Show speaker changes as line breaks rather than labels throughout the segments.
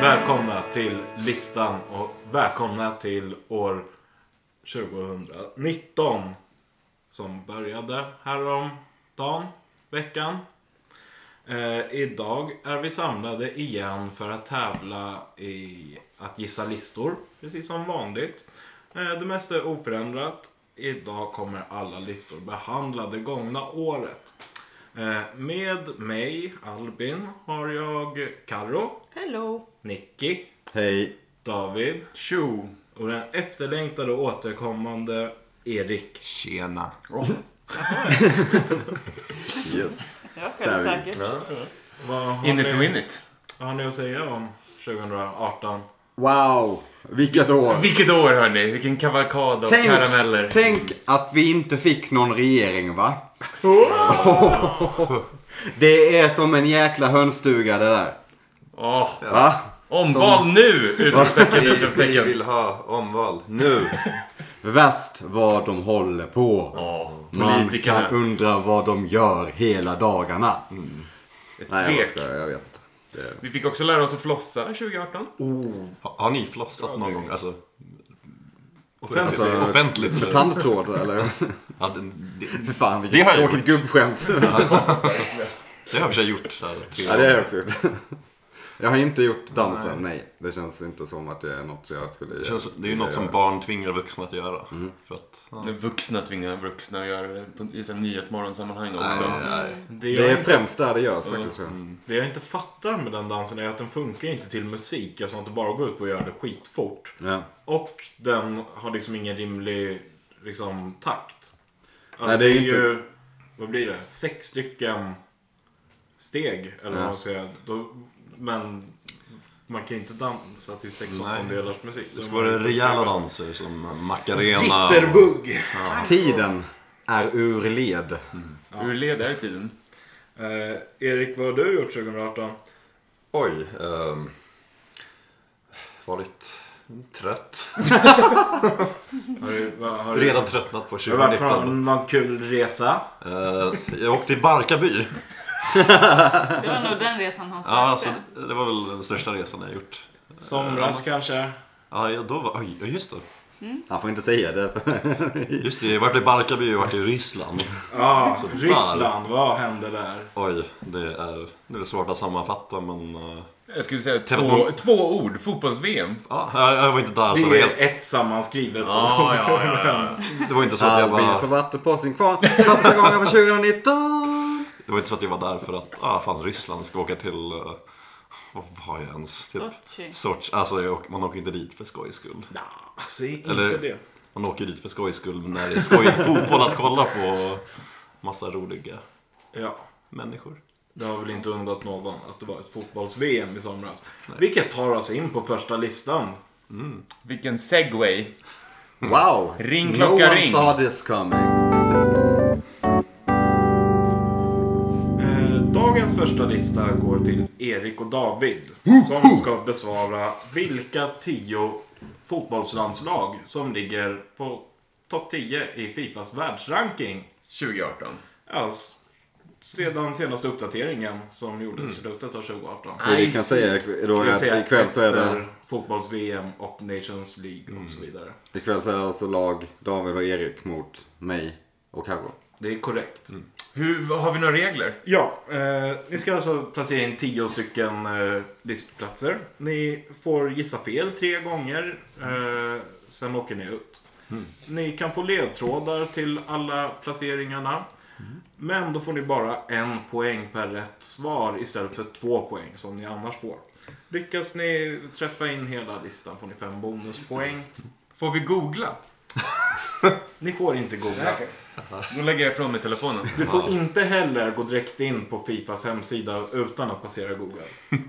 välkomna till listan och välkomna till år 2019. Som började häromdagen, veckan. Eh, idag är vi samlade igen för att tävla i att gissa listor, precis som vanligt. Eh, det mesta är oförändrat. Idag kommer alla listor behandla det gångna året. Eh, med mig, Albin, har jag Karo,
Hello!
Nicky,
Hej.
David
Tjo.
och den efterlängtade återkommande Erik.
Tjena. yes.
Jag
Sorry.
självsäker.
Vad har,
In it to
ni,
win it.
vad har ni att säga om 2018?
Wow. Vilket år.
Vilket år hörni, vilken kavalkad av
Tänk,
karameller.
tänk att vi inte fick någon regering va? Det är som en jäkla hönstuga det där.
Åh,
Va?
Omval nu! Utropstecken,
Vi
utropstecken.
vill ha omval nu.
Värst vad de håller på.
Åh,
Man
Politikerna.
kan undra vad de gör hela dagarna.
Ett
Nej, jag
svek.
skojar, jag vet inte. Det-
Vi fick också lära oss att flossa 2018.
Har, har ni flossat någon gång? Alltså,
Offentligt?
Alltså,
offentligt?
Med tandtråd eller?
Ja, det, det,
För fan
Det har
vilket
jag
tråkigt gubbskämt.
det har jag i och för sig gjort. Så här, tre
Ja, det har
gånger.
jag också gjort. Jag har inte gjort dansen, nej. Det känns inte som att det är något jag skulle
det,
göra.
känns, det är ju något som barn tvingar vuxna att göra. För att, Mm. ja.
När vuxna tvingar vuxna att göra det på- i så här nyhetsmorgonsammanhang också.
Nej, nej.
Det
Det
jag,
är
inte,
främst där det görs faktiskt. tror jag.
det jag inte fattar med den dansen är att den funkar inte till musik. Alltså att det bara går ut på att göra det skitfort.
Ja.
Och den har liksom ingen rimlig liksom, takt. Alltså,
Nej,
det
det är
är
ju inte-
ju, vad blir det, sex stycken steg. Eller vad
Ja.
man ska säga. Då, men man kan inte dansa till sex åttondelars musik.
Det ska vara rejäla danser som Macarena.
Jitterbug!
Tiden är ur led.
Ur led är tiden.
Eh, Erik, vad har du gjort 2018?
Oj. ehm, varit trött.
Har du, vad, har du,
Redan tröttnat på
har du varit på
2019.
någon, någon kul resa?
Eh, jag åkte till Barkarby.
Det var nog den resan han
Ja,
sökte.
alltså, det var väl den största resan jag gjort.
Somras kanske?
Ja, jag- då var... Oj, ja, just det.
Han får inte säga det.
Just det, jag vart i Barkarby och vart i Ryssland.
Ja,
Så där.
Ryssland. Vad hände där?
Oj, det är, det är svårt att sammanfatta men... eh,
Jag skulle säga två,
Telefon.
två ord. Fotbolls-VM.
Ja, jag, jag var inte där så det,
Det
var
är
Alltså, helt,
ett sammanskrivet.
Ja, ja, ja, ja.
det var inte så att jag
Albin får
bara,
vatten på sin kvarn första gången på 2019.
Det var inte så att jag var där för att, ah fan Ryssland ska åka till... eh, Vad var jag ens? Typ,
Sochi.
Sochi. Alltså jag, åker- man åker inte dit för skojs skull.
Nja, alltså inte
Eller-
det.
Man åker dit för skojs skull när det är skojig fotboll att kolla på. och Massa roliga
Ja.
människor.
Det har väl inte undgått någon att det var ett fotbolls-VM i somras. Vilket tar oss in på första listan.
Vilken segway.
Wow!
Ring,
no
klocka,
one
ring.
saw this coming.
Eh, Dagens första lista går till Erik och David. Som ska besvara vilka tio fotbollslandslag som ligger på topp 10 i Fifas världsranking.
2018.
Alltså, sedan senaste uppdateringen som gjordes i slutet av 2018.
Det vi kan säga är då
Det vill
att
säga
Mm. ikväll så är det, Mm.
efter fotbolls-VM och Nations League och så vidare.
ikväll så är det alltså lag David och Erik mot mig och Carro.
Det är korrekt.
Mm.
Hur, har vi några regler?
Ja, eh, ni ska alltså placera in tio stycken eh, listplatser. Ni får gissa fel tre gånger, eh, sen åker ni ut. Ni kan få ledtrådar till alla placeringarna. Men då får ni bara en poäng per rätt svar istället för två poäng som ni annars får. Lyckas ni träffa in hela listan får ni fem bonuspoäng.
Får vi googla?
Ni får inte googla.
Nu lägger jag ifrån mig telefonen.
Du får inte heller gå direkt in på Fifas hemsida utan att passera Google.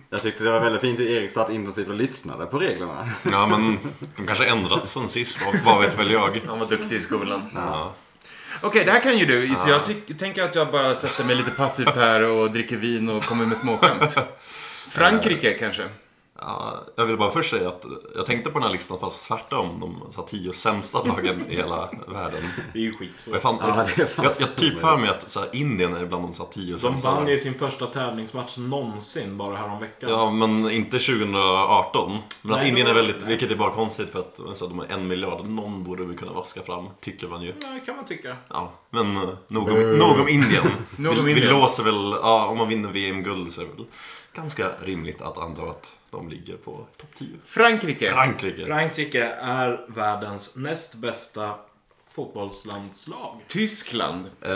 Jag tyckte det var väldigt fint hur Erik satt intensivt och lyssnade på reglerna.
Ja men de kanske ändrats sen sist och vad vet väl jag.
Han var duktig i skolan.
Ja.
Okej, det här kan ju du. Så jag tyck- tänker att jag bara sätter mig lite passivt här och dricker vin och kommer med småskämt. Frankrike kanske?
Ja, jag vill bara först säga att jag tänkte på den här listan fast tvärtom. De så här, tio sämsta lagen i hela världen.
Det är ju
Och jag,
skitsvårt.
fan,
Ja, det är fan
jag, jag typ för mig att så här, Indien är bland de så här, tio
De
sämsta.
vann
lagen.
ju sin första tävlingsmatch någonsin bara häromveckan.
Ja, men inte 2018. Men att
Nej,
Indien
då-
är väldigt,
nej.
vilket är bara konstigt för att alltså, de är en miljard. Någon borde vi kunna vaska fram, tycker man ju.
Ja, det kan man tycka.
Ja, men eh, nog om, nog om Indien.
Nog om
vi, vi
Indien.
låser väl, ja, om man vinner VM-guld så är det väl ganska rimligt att anta att de ligger på topp 10.
Frankrike.
Frankrike.
Frankrike är världens näst bästa fotbollslandslag.
Tyskland.
Eh,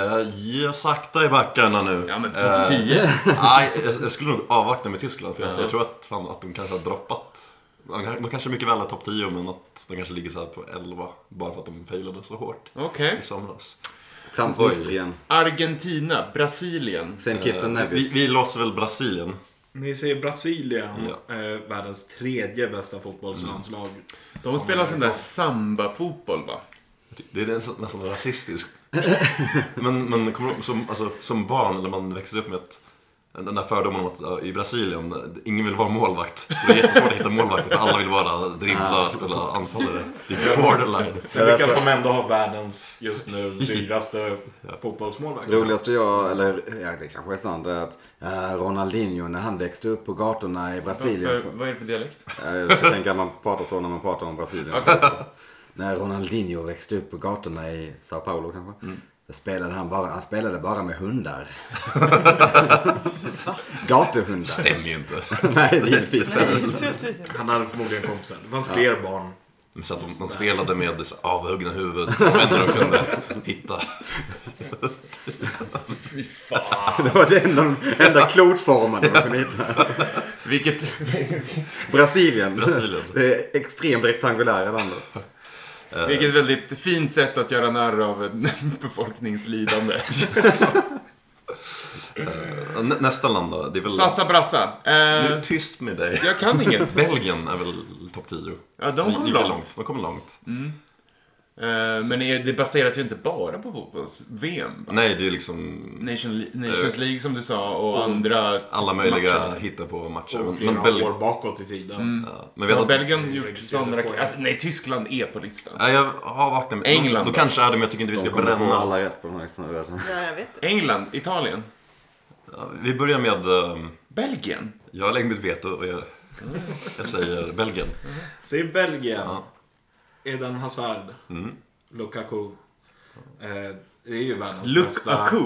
jag sakta i backarna nu.
Ja men
Eh,
topp 10.
Nej, jag, jag skulle nog avvakta med Tyskland för jag,
Ja.
jag tror att, fan, att de kanske har droppat. De kan- de kanske mycket väl är topp 10 men att de kanske ligger så här på 11 bara för att de failade så hårt
Okej.
i somras.
Transnistrien.
Argentina. Brasilien.
Saint Kitts and
Vi,
Nevis.
vi låser väl Brasilien.
Ni ser Brasilien, eh, världens tredje bästa fotbollslandslag.
Mm.
De spelar sån där samba-fotboll va?
Det är nästan nästan rasistiskt. men men kommer, du ihåg, som, alltså, som barn, eller man växer upp med att den där fördomen om att ja, i Brasilien, eh, ingen vill vara målvakt. Så det är jättesvårt att hitta målvakter för alla vill bara dribbla, spela anfallare. Det är borderline.
Sen lyckas de ändå ha världens just nu dyraste fotbollsmålvakt.
Det roligaste jag, eller ja, det kanske är sant, är att eh, Ronaldinho när han växte upp på gatorna i Brasilien. Så,
Varför, vad är det för dialekt?
Ja, jag tänker att man pratar så när man pratar om Brasilien. När Ronaldinho växte upp på gatorna i Sao Paulo kanske. Då spelade han, bara, han spelade bara med hundar. Gatuhundar.
Stämmer ju inte.
Nej, givetvis.
Nej, troligtvis inte.
Han hade förmodligen kompisar. Det fanns fler barn.
Men Så att de, de spelade med så avhuggna huvud, de enda de kunde hitta.
Fy fan.
Det var den enda, enda klotformen man kunde hitta.
Vilket...
Brasilien.
Brasilien.
Det är extremt rektangulära landet.
Vilket väldigt fint sätt att göra narr av en befolkningslidande.
Nä, nästa land då? Det är väl...
Sassa Brassa.
Nu är det
Eh,
tyst med dig.
jag kan inget.
Belgien är väl topp 10?
Ja, de kom
Gick väl
långt.
De kom långt.
Eh, men är- det baseras ju inte bara på fotbolls-VM. va?
Nej, det är liksom...
Nation, Nations League som du sa och andra
alla möjliga
matcher.
hitta på matcher.
Och
Men,
flera
men, Belg...
år bakåt i tiden.
ja, men
Så
vet
har
att...
Belgien gjort
registrerade
sådana...
poäng.
Alltså, nej, Tyskland är på listan.
Ja, jag har vaknat med...
England
Då
då?
kanske är det, men jag tycker inte vi ska
De kommer få
bränna.
alla rätt på den här snurren.
Ja, jag vet.
England, Italien,
Ja, vi börjar med... ehm,
Belgien.
Jag har lägger mitt veto och jag... Jag säger Belgien.
Säg Belgien.
Ja. Mm.
Eden Hazard. Lukaku. Eh, det är ju världens bästa,
Lukaku.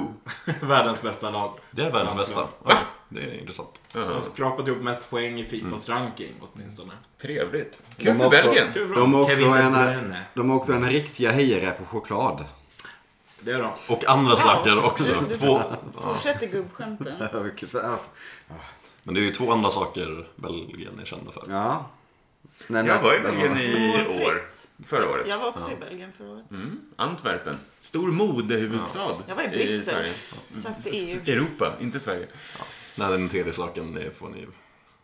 världens bästa lag.
Det är världens bästa.
Landslag.
Ja, det är intressant.
De har skrapat ihop mest poäng i Fifas ranking åtminstone.
Trevligt. Kul
De
för
har också-
Belgien.
Kul för
De har
dem.
också,
Kevin Mm. De
en,
Bruyne.
de har också en riktiga hejare på choklad.
Det är de.
Och andra saker också.
Du- du-
Två...
Fortsätter gubbskämten.
Men det är ju två andra saker Belgien är kända för.
Ja. Nej, men-
Jag var i Belgien i
Målfritt.
år. Förra året.
Jag var också i Belgien förra året.
Antwerpen. Stor modehuvudstad.
Jag var i Bryssel.
Sverige.
Sökte E EU.
Europa, inte Sverige.
Nej, den tredje saken det får ni,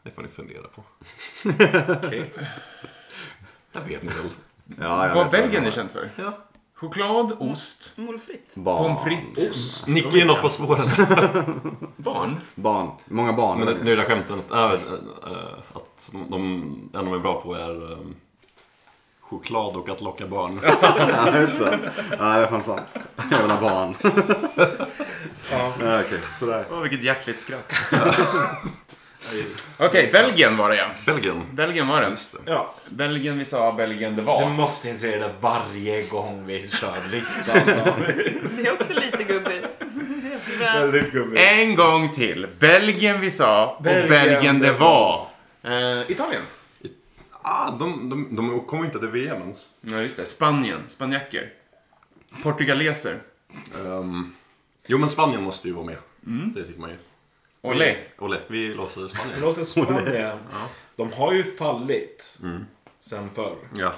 det får ni fundera på.
Okej.
Det vet ni väl?
Ja, jag
Vad
vet vad
Belgien
det
är
var.
känt för?
Ja.
Choklad, ost,
Målfritt.
Barn.
pommes frites,
Nicky är något på spåren.
barn.
Barn. Många barn.
Men det- nu är det skämten att, äh, äh, att de, de, en de är bra på är äh, choklad och att locka barn.
Ja, det är så. Ja, det är fan sant. Jävla barn.
Ja.
Ja, okej. Sådär.
Åh, vilket hjärtligt skratt. Okej, Belgien var det ja.
Belgien.
Belgien var det.
Ja,
Belgien vi sa, Belgien det
du
var.
måste inse det varje gång vi kör listan.
Det är också lite gubbigt. Jag ska börja-
Väldigt gubbigt.
En gång till. Belgien vi sa och Belgien,
Belgien
det
det
var. Eh, Italien.
Ah, de, de, de kommer inte till VM ens.
Ja, just det. Spanien. Spanjacker. Portugaleser.
Ehm, jo, men Spanien måste ju vara med. Det tycker man ju.
Olé.
Olle, vi låser Spanien.
Blåser Spanien. De har ju fallit sen förr.
Ja.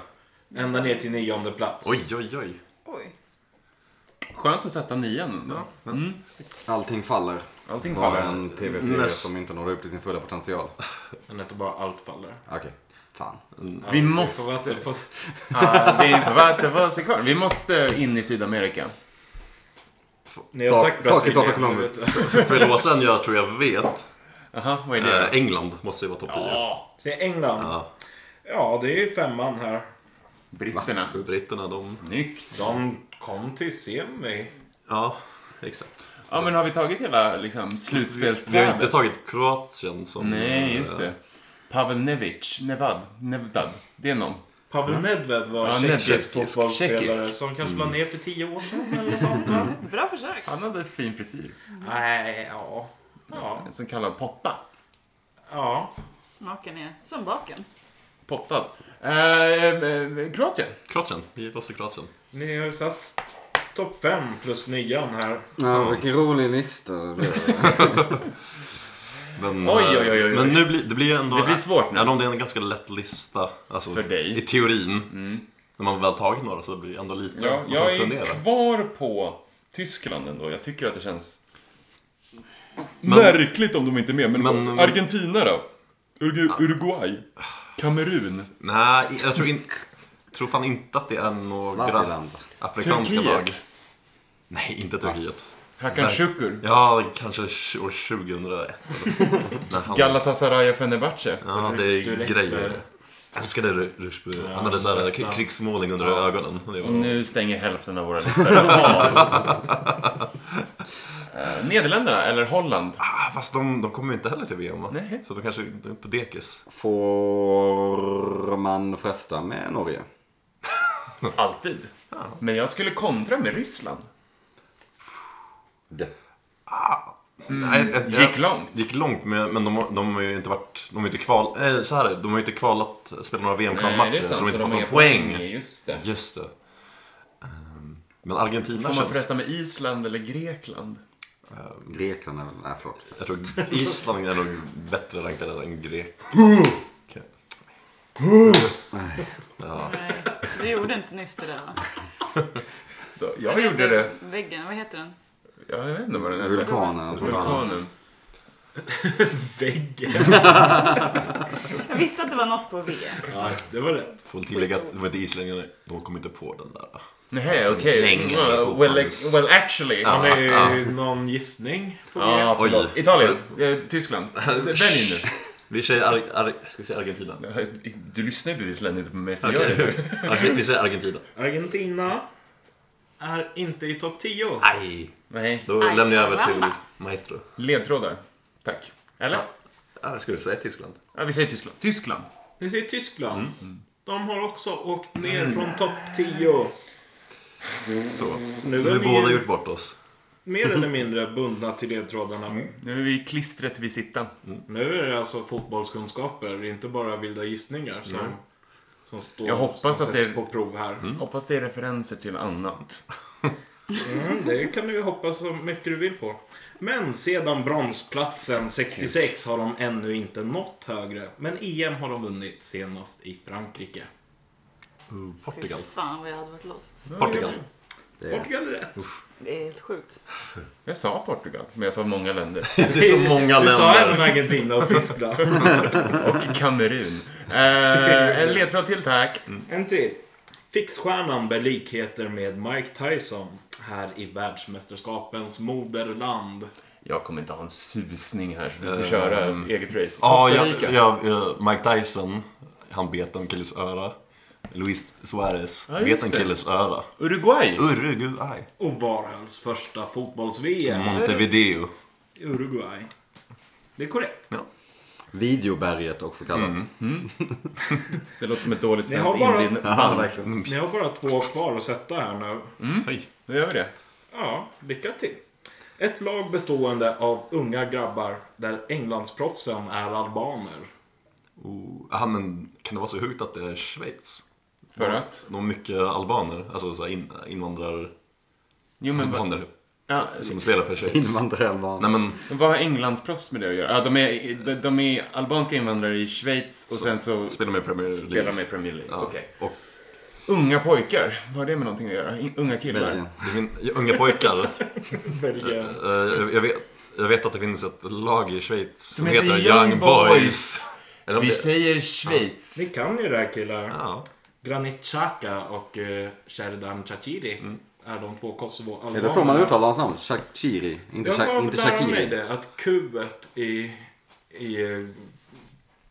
Ända ner till nionde plats.
Oj, oj, oj.
Oj.
Skönt att sätta nian ändå. Mm.
Allting faller.
Allting
Var
faller.
en tv-serie
Näst-
som inte nådde upp till sin fulla potential.
Den heter bara Allt faller.
Okej. Fan.
Ja,
Vi
får
måste-
vatten på oss.
Ah, det är vatten på sig kvar. Vi måste in i Sydamerika.
Ni har
Sak-
sagt
saker som
Brasilien.
Columbus.
jag vet.
För låsen jag tror jag vet.
Aha, vad är det?
Eh, England måste ju vara topp 10.
ja,
Så det är England. Ja.
Ja.
det är ju femman här.
britterna.
Britterna, de...
Snyggt.
De kom till semi.
Ja, exakt.
Ja, men har vi tagit hela liksom,
Vi har inte
slutspelsträdet?
tagit Kroatien som... eh,
Nej, just det. Pavel Nevic, Nevad, Nevdad. Det är någon.
Pavel Mm. Nedved var
Ja,
tjeckisk
Nedvedkisk,
fotbollsspelare
tjeckisk.
som kanske la ner för tio år sedan eller sånt va?
Bra försök.
Han hade fin frisyr.
Nej, ja. Ja,
En så kallad potta.
ja.
Smaken är som baken.
Pottad. Eh, eh, Kroatien.
Kroatien. Vi ger oss till Kroatien.
Ni har satt topp fem plus nian här.
Ja, vilken rolig lista. det blev.
Men, eh,
Oj, oj, oj, oj, oj.
men nu blir det blir ändå...
Det blir svårt nu.
Även om det är en ganska lätt lista. Alltså,
För dig. Mm.
I teorin. När man väl tagit några så blir det ändå lite...
Ja,
man får
jag
fundera.
är kvar på Tyskland ändå. Jag tycker att det känns
Men-
märkligt om de inte är med. Men,
Men-
Argentina då? Urgu- Uruguay? Kamerun?
Nej, jag tror inte... Tror fan inte att det är några
Swaziland.
afrikanska lag.
Turkiet?
Nej, inte Turkiet.
Hakan Şükür?
Ja, kanske år 2001. När han-
Galatasaray och Fenerbahçe?
Ja, det är
Rushdi Rekberg.
grejer. Älskade Ru- Rushdi. Han hade så här
bästa.
kri- krigsmålning under ögonen. Det var...
Nu stänger hälften av våra listor. Eh, Nederländerna eller Holland?
Ah, fast de, de kommer ju inte heller till VM va?
Nej.
Så de kanske de är på dekis.
Får man fresta med Norge?
Alltid. Men jag skulle kontra med Ryssland.
Det.
Nej, jag- jag-
Mm. Gick långt.
Gick långt, men, men de, har- de har ju inte varit... De har ju inte kval... Eh, så här, de har ju inte kvalat att spela några
Eh,
VM-kvalmatcher. Så de har inte fått någon poäng.
Just det.
Just det. Ehm, Men Argentina
Får man
känns...
förresten med Island eller Grekland?
Grekland är väl... Nej, förlåt.
Jag tror Island är nog bättre rankade än Grek. Okej.
Nej, du gjorde inte nyss det där va?
Jag
Vad
gjorde
heter
det.
Väggen, vad heter den?
Jag vet inte vad den hette.
Vulkanen. alltså. som fan.
Vulkanen.
Väggen.
Jag visste att det var något på V.
Ja, det var rätt.
Får väl tillägga att det var inte islänningarna. De kom inte på den där.
Nej, okej.
Släng.
Mm, Well, ex- well, actually.
Har
Ja,
ni någon gissning? På
ah,
Oj.
förlåt. Italien. Eh, Tyskland. Välj nu.
Vi säger, Ar- Ar- ska vi säga Argentina.
Du lyssnar ju bevisligen inte på mig, så gör
Okej.
det.
Okej, Alltså, vi säger Argentina.
Argentina är inte i topp 10.
Nej.
Nej.
Då
Aj,
lämnar jag över till
caramba.
Maestro.
Ledtrådar. Tack. Eller?
Ah, skulle du säga Tyskland?
Ja, vi säger Tyskland. Tyskland.
Ni ser Tyskland. De har också åkt ner från topp 10.
Så.
Nu
Nu har
är
vi båda
vi ju
gjort bort oss.
mer eller mindre bundna till ledtrådarna.
Nu är vi i klistret vi sitta.
Nu är det alltså fotbollskunskaper, inte bara vilda gissningar som, som står
Jag hoppas
som
att
sätts
det-
på prov här.
Mm.
Hoppas det är referenser till annat.
Mm, det kan du ju hoppas så mycket du vill på. Men sedan bronsplatsen 66 har de ännu inte nått högre. Men EM har de vunnit senast i Frankrike.
Mm,
Fy
Portugal.
fan vad jag hade varit lost.
Portugal.
Det är...
Portugal är rätt.
Det är helt sjukt.
Jag sa Portugal, men jag sa många länder.
Det är så många
Du sa även
länder.
Argentina och Tyskland.
Och Kamerun. Eh, en ledtråd till, tack.
Mm.
en till. Fixstjärnan bär likheter med Mike Tyson här i världsmästerskapens moderland.
Jag kommer inte ha en susning här, så vi får köra eget race.
Eh. Ja,
Costa
jag,
Rica.
jag, jag, Mike Dyson. Han bet en killes öra. Luis Suarez
Ja,
bet
just
en
det.
killes öra.
Uruguay.
Uruguay.
Och var hölls första fotbolls-VM?
Montevideo.
I Uruguay. Det är korrekt.
Videoberget också kallat.
Det låter som ett dåligt
Ni har
svenskt
bara-
indienband.
Ni har bara två kvar att sätta här nu.
Oj.
Då Mm. gör vi det.
Ja, lycka till. Ett lag bestående av unga grabbar där Englandsproffsen är albaner.
Oh, aha, men kan det vara så sjukt att det är Schweiz?
För att?
De har mycket albaner, alltså så här in, invandrar...
Jo, men vad...
Albaner
Ja,
som spelar för Schweiz.
Invandrarelvan.
Nej men,
men vad har Englandsproffs med det att göra? Ja, de, är, de, de är albanska invandrare i Schweiz och
Så-
sen så
spelar med i Premier League.
spelar de i Premier League.
Ja.
Okej.
Och
Unga pojkar, vad har det med någonting att göra? In, unga
Belgien.
killar?
det fin- unga pojkar. eh,
Belgien.
jag, jag, vet, jag vet att det finns ett lag i Schweiz som,
heter
heter
Young
Young,
Boys.
Boys. Eller om
Vi
det-
säger Schweiz.
Ni kan ju det här killar.
Ja.
Granit Xhaka och eh, Sherdan Chachiri är de två Kosovo-albanerna.
Mm. Är det så man uttalar hans namn? Shakiri? Inte,
Ja,
Shak-
varför
inte
lär de mig
Shakiri?
det? Att kubet i i eh,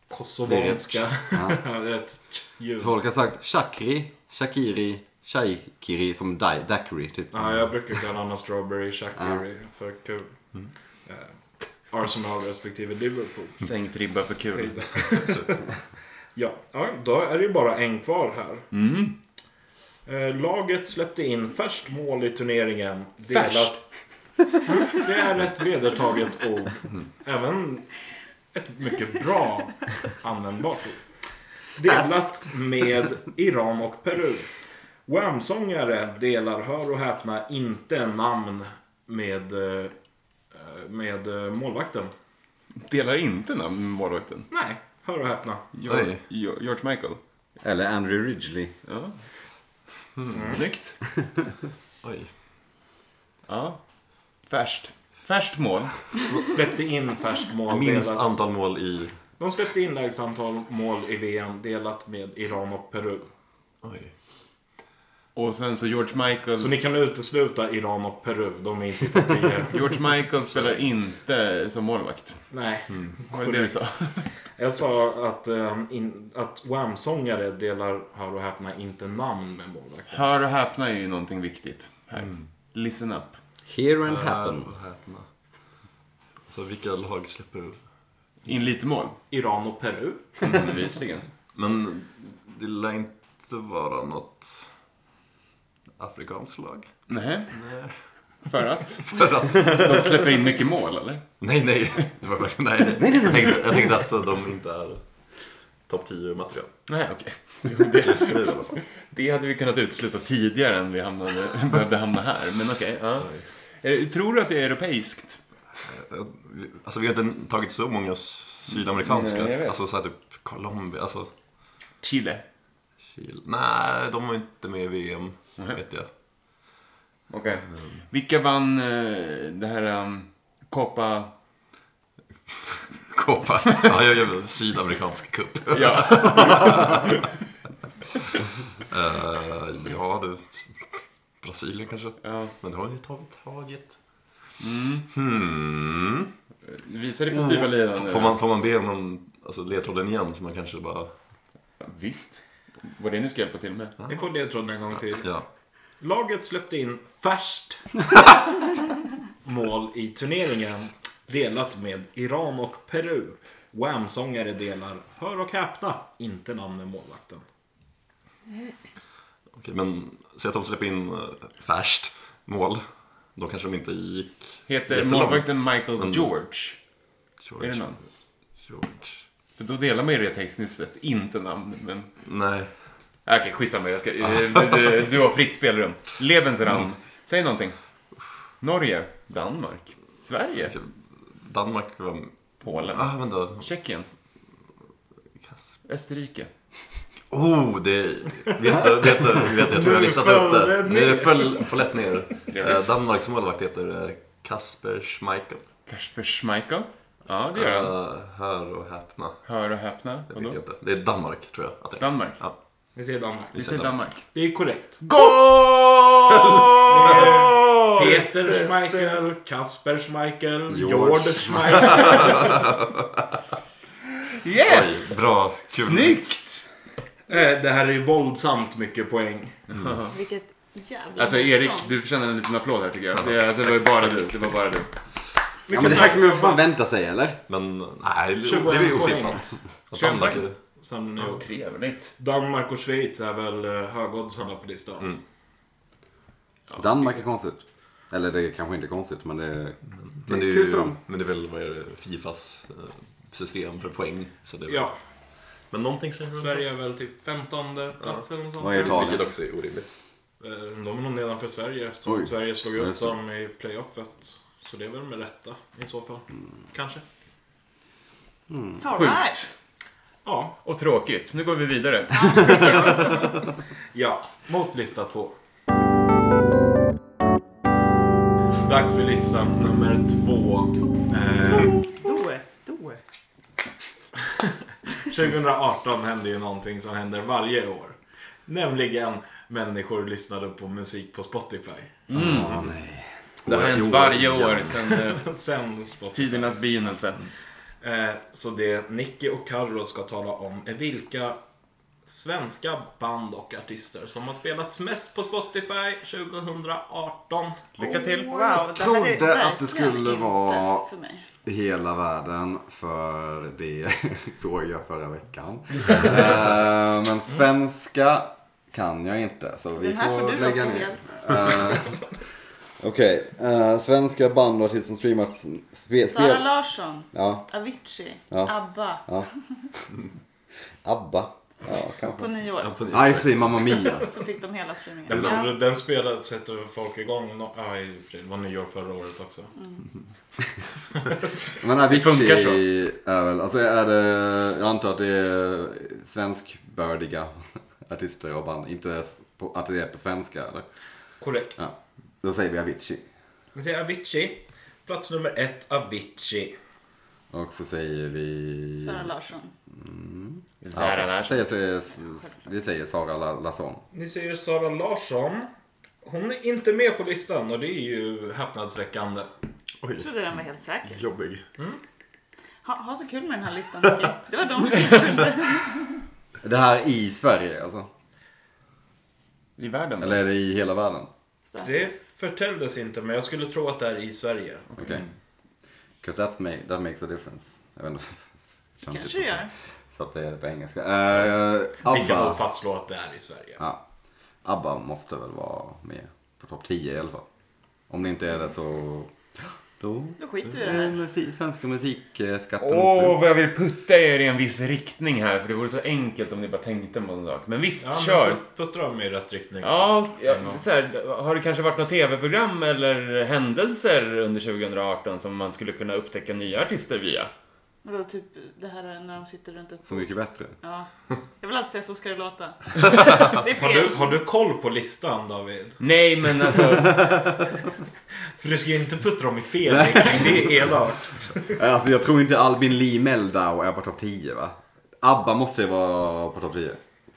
kosovanska.
Ja.
Ja, det är ett tsch ljud.
Folk har sagt Shakri, Shakiri, Shaikiri som di- Daiquiri typ.
Ja, jag brukar kalla honom Strawberry Shaqiri för kul.
Mm.
Eh, Arsenal respektive Liverpool.
Mm.
Säng Pribba för kul.
Ja, ja, då är det ju bara en kvar här. Eh, Laget släppte in färskt mål i turneringen. Delat...
Färskt?
Mm, Det är ett vedertaget ord. Även ett mycket bra användbart ord. Delat med Iran och Peru. Wham-sångare delar, hör och häpna, inte namn med, eh, med eh, målvakten.
Delar inte namn med målvakten.
Nej, hör och häpna.
George,
Oj.
George Michael.
Eller Andrew Ridgely.
Ja. Hmm. Mm. Snyggt.
Oj.
Ja. Färskt. Färskt mål.
Släppte in färskt mål.
Minst
delat-
antal mål i...
De släppte in lägst antal mål i VM delat med Iran och Peru.
Oj.
Och sen så George Michael.
Så ni kan utesluta Iran och Peru. De är inte i topp 10.
George Michael spelar inte som målvakt.
Nej.
Var det det du sa?
Mm. Jag sa att, eh, in, att Wham-sångare delar, hör och häpna, inte namn med målvakten.
Hör och häpna är ju någonting viktigt. Här. Listen up.
Here and happen.
Häpna. Alltså vilka lag släpper...
In lite mål.
Iran och Peru.
Bevisligen.
Men det lär inte vara något afrikanskt lag.
Nej. För att? För att de släpper in mycket mål, eller?
Nej, nej. Det var verkligen... Nej, nej. Jag, tänkte, jag tänkte att de inte är topp 10-material.
Nej, okej.
Just nu i alla fall.
Det hade vi kunnat utesluta tidigare än vi hamnade, behövde hamna här. Men okej. ja. Är det- Tror du att det är europeiskt?
Alltså vi har inte tagit så många s- sydamerikanska.
Nej, jag vet.
alltså så här, typ Colombia, alltså
Chile.
Chile. Nej, de var inte med i VM, vet jag.
Okej. Mm. Vilka vann eh, det här um, Copa...
Copa. Ja, jag gör en sydamerikansk cup.
Ja.
Eh, ja, du. Brasilien kanske.
ja.
Men det har ju tagit taget.
Mm.
Hmm.
Visa dig på styva linan nu.
Får man, får man be om någon, alltså ledtråden igen så man kanske bara...
Visst. Vad det nu ska hjälpa till med.
Ni får ledtråden en gång till.
Ja.
Laget släppte in färskt mål i turneringen delat med Iran och Peru. Wham-sångare delar, hör och häpna, inte namn med målvakten.
Okej, men säg att de släpper in eh, färskt mål. Då kanske de inte gick...
Heter
jättelångt.
målvakten Michael
Men-
George?
George.
Är det någon?
George.
För då delar man ju det tekniskt sett. Inte namn, men... Ah,
Nej.
Okej, skitsamma. Jag ska... eh, du, du har fritt spelrum. Lebensraum. Säg någonting. Norge. Danmark. Sverige.
Danmark var...
Polen.
Ah, vänta.
Tjeckien.
Kasper.
Österrike.
Oh, det... Vet du, vet du, vet du, jag tror jag har listat
föll
ut det.
det
Nu föll på lätt ner.
Trevligt.
Eh, Danmarks målvakt heter eh, Kasper Schmeichel.
Kasper Schmeichel. Ja, det gör han.
Eh, hör och häpna.
Hör och häpna.
Det vet
Vadå?
jag inte. Det är Danmark, tror jag. Att det är.
Danmark.
Ja.
Ni ser Danmark.
Ah, Vi säger Danmark.
Det är korrekt.
Goal!
Peter Schmeichel, Kasper Schmeichel, Jord Schmeichel.
Yes!
Oj, bra. Kul.
Snyggt!
Eh, Det här är våldsamt mycket poäng.
Vilket jävla
Alltså Erik,
motstånd.
du förtjänar en liten applåd här tycker jag. Det, alltså, det var ju bara du. Det var bara du.
Ja, men det här kan man fan vänta sig eller?
Men nej, det
21
det är ju
poäng.
otippat. Att
21
Danmark
poäng.
är-
Sen nu.
Trevligt.
Danmark och Schweiz är väl eh, högoddsarna på listan.
Mm. Danmark är konstigt. Eller det är kanske inte konstigt men det är, det
Men
är
det är
kul för
ju...
dem.
Men det är väl, vad är det, Fifas eh, system för poäng. Så det är väl-
Ja,
Men någonting säger väl-
Sverige är väl typ 15 plats eller något sånt.
Vad är Italien?
Vilket också är orimligt.
Eh, De är nog nedanför Sverige eftersom
Oj.
Sverige slog
Ja,
ut
just det.
dem i playoffet. Så det är väl med rätta i så fall.
Mm.
Kanske.
All right.
Sjukt.
Ja,
Och tråkigt. Nu går vi vidare.
ja. Mot lista två. Dags för listan nummer två. Eh,
Då är- då är-
2018 hände ju någonting som händer varje år. Nämligen människor lyssnade på musik på Spotify.
Åh, Ah, nej.
Det har hänt varje år sedan eh,
Sen Spotify.
tidernas begynnelse.
Eh, så det Nicky och Carro ska tala om är vilka svenska band och artister som har spelats mest på Spotify 2018.
Lycka till.
Wow, det här är
trodde att det
verkligen
skulle
inte
vara-
För mig.
hela världen för det såg jag förra veckan. Eh, men svenska kan jag inte så vi
Den här
får,
får du
lägga
låta
ner.
helt.
Eh, Okej, eh, svenska band och artister som streamats...
Sara
Spe, spel,
Larsson,
ja,
Avicii,
Ja.
ABBA
ja. ABBA. Ja,
på
kanske.
nio år.
Ja, i och för sig, Mamma Mia.
Så fick de hela streamingen.
Den,
Ja.
den spelade, sätter folk igång. No, ja, i och för sig, det var nyår förra året också.
Men
funkar
Avicii är väl, alltså är det, jag antar att det är svenskbördiga artister och band. Inte s- på, att det är på svenska eller?
Korrekt.
Ja. Då säger vi Avicii.
Vi säger Avicii. Plats nummer ett, Avicii.
Och så säger vi...
Sara Larsson.
Zara Larsson.
Säger, säger, s- vi säger Sara La- Larsson.
Ni ser ju Sara Larsson. Hon är inte med på listan och det är ju häpnadsväckande.
Oj,
Jag trodde den var helt säker.
jobbig.
Ha, ha så kul med den här listan Micke. Det var de.
Det här i Sverige alltså?
I världen.
Eller är det i hela världen?
Det förtälldes inte men jag skulle tro att det är i Sverige.
Okej. Cause that's make, that makes a difference. Jag vet inte.
Kanske det gör.
Så att det är på engelska. Eh,
Vi kan nog
ABBA.
fastslå att det är i Sverige.
Ja. ABBA måste väl vara med på topp 10 i alla fall. Om det inte är det så... Då...
Då skiter vi i det
är
här.
musi- Svenska musikskatten
Åh,
slut.
vad jag vill putta er i en viss riktning här, för det vore så enkelt om ni bara tänkte på en sak. Men visst,
Ja,
kör!
men put- puttar dem i rätt riktning.
Ja, ja, så här, har det kanske varit något tv-program eller händelser under 2018 som man skulle kunna upptäcka nya artister via?
Vadå, typ det här när de sitter runt ett
Så mycket bättre.
Ja. Jag vill alltid säga så ska det låta. Det är
Har du,
fel.
har du koll på listan David?
Nej, men alltså...
För du ska ju inte putta dem i fel riktning, det är elakt.
Eh, Alltså jag tror inte Albin Lee Meldau är på topp 10 va? ABBA måste ju vara på topp 10.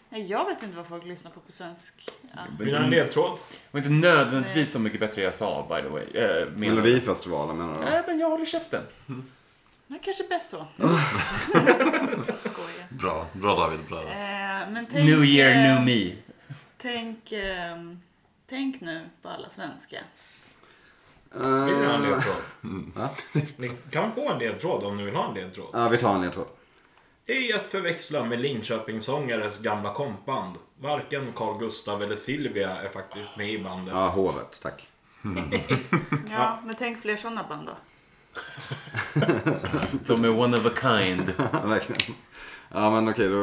Nej, jag vet inte vad folk lyssnar på på svensk. Ja.
Vill du ha en ledtråd?
var inte nödvändigtvis så mycket bättre jag sa, by the way. Eh, menar-
Melodifestivalen menar du?
Äh.
Nej, men jag håller käften.
Det är kanske är bäst så. jag skojar.
Bra, bra David. Bra.
Eh, men tänk,
New
eh,
year, new me.
Tänk, ehm, tänk nu på alla svenska.
Vill ni ha en
Eh,
ledtråd?
va?
Ni kan få en ledtråd om ni vill ha en ledtråd.
Ja, vi tar en ledtråd.
I att förväxla med Linköpingssångares gamla kompband. Varken Carl Gustav eller Silvia är faktiskt med i bandet.
Ja, hovet, tack.
Ja, men tänk fler sådana band då.
De är one of a kind.
Ja, Verkligen. Ja, men okej då...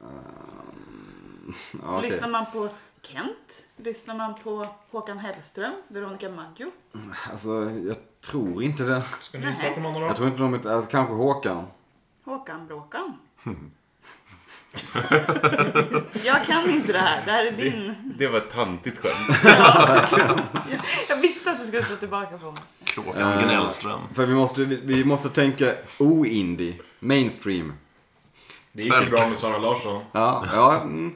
Ehm, ja, okej.
Lyssnar man på Kent? Lyssnar man på Håkan Hellström? Veronica Maggio?
Alltså, jag tror inte det.
Ska ni gissa på någon av dem?
Jag tror inte de... Alltså, kanske Håkan.
Håkan Bråkan? jag kan inte det här. Det här är din.
Det var ett tantigt skämt.
Jag visste att det skulle stå tillbaka på mig.
Kråkan
Eh,
Gnällström.
För vi måste, vi, vi måste tänka o-indie. Mainstream.
Det gick ju bra med Sara Larsson.
Ja, ja. mm.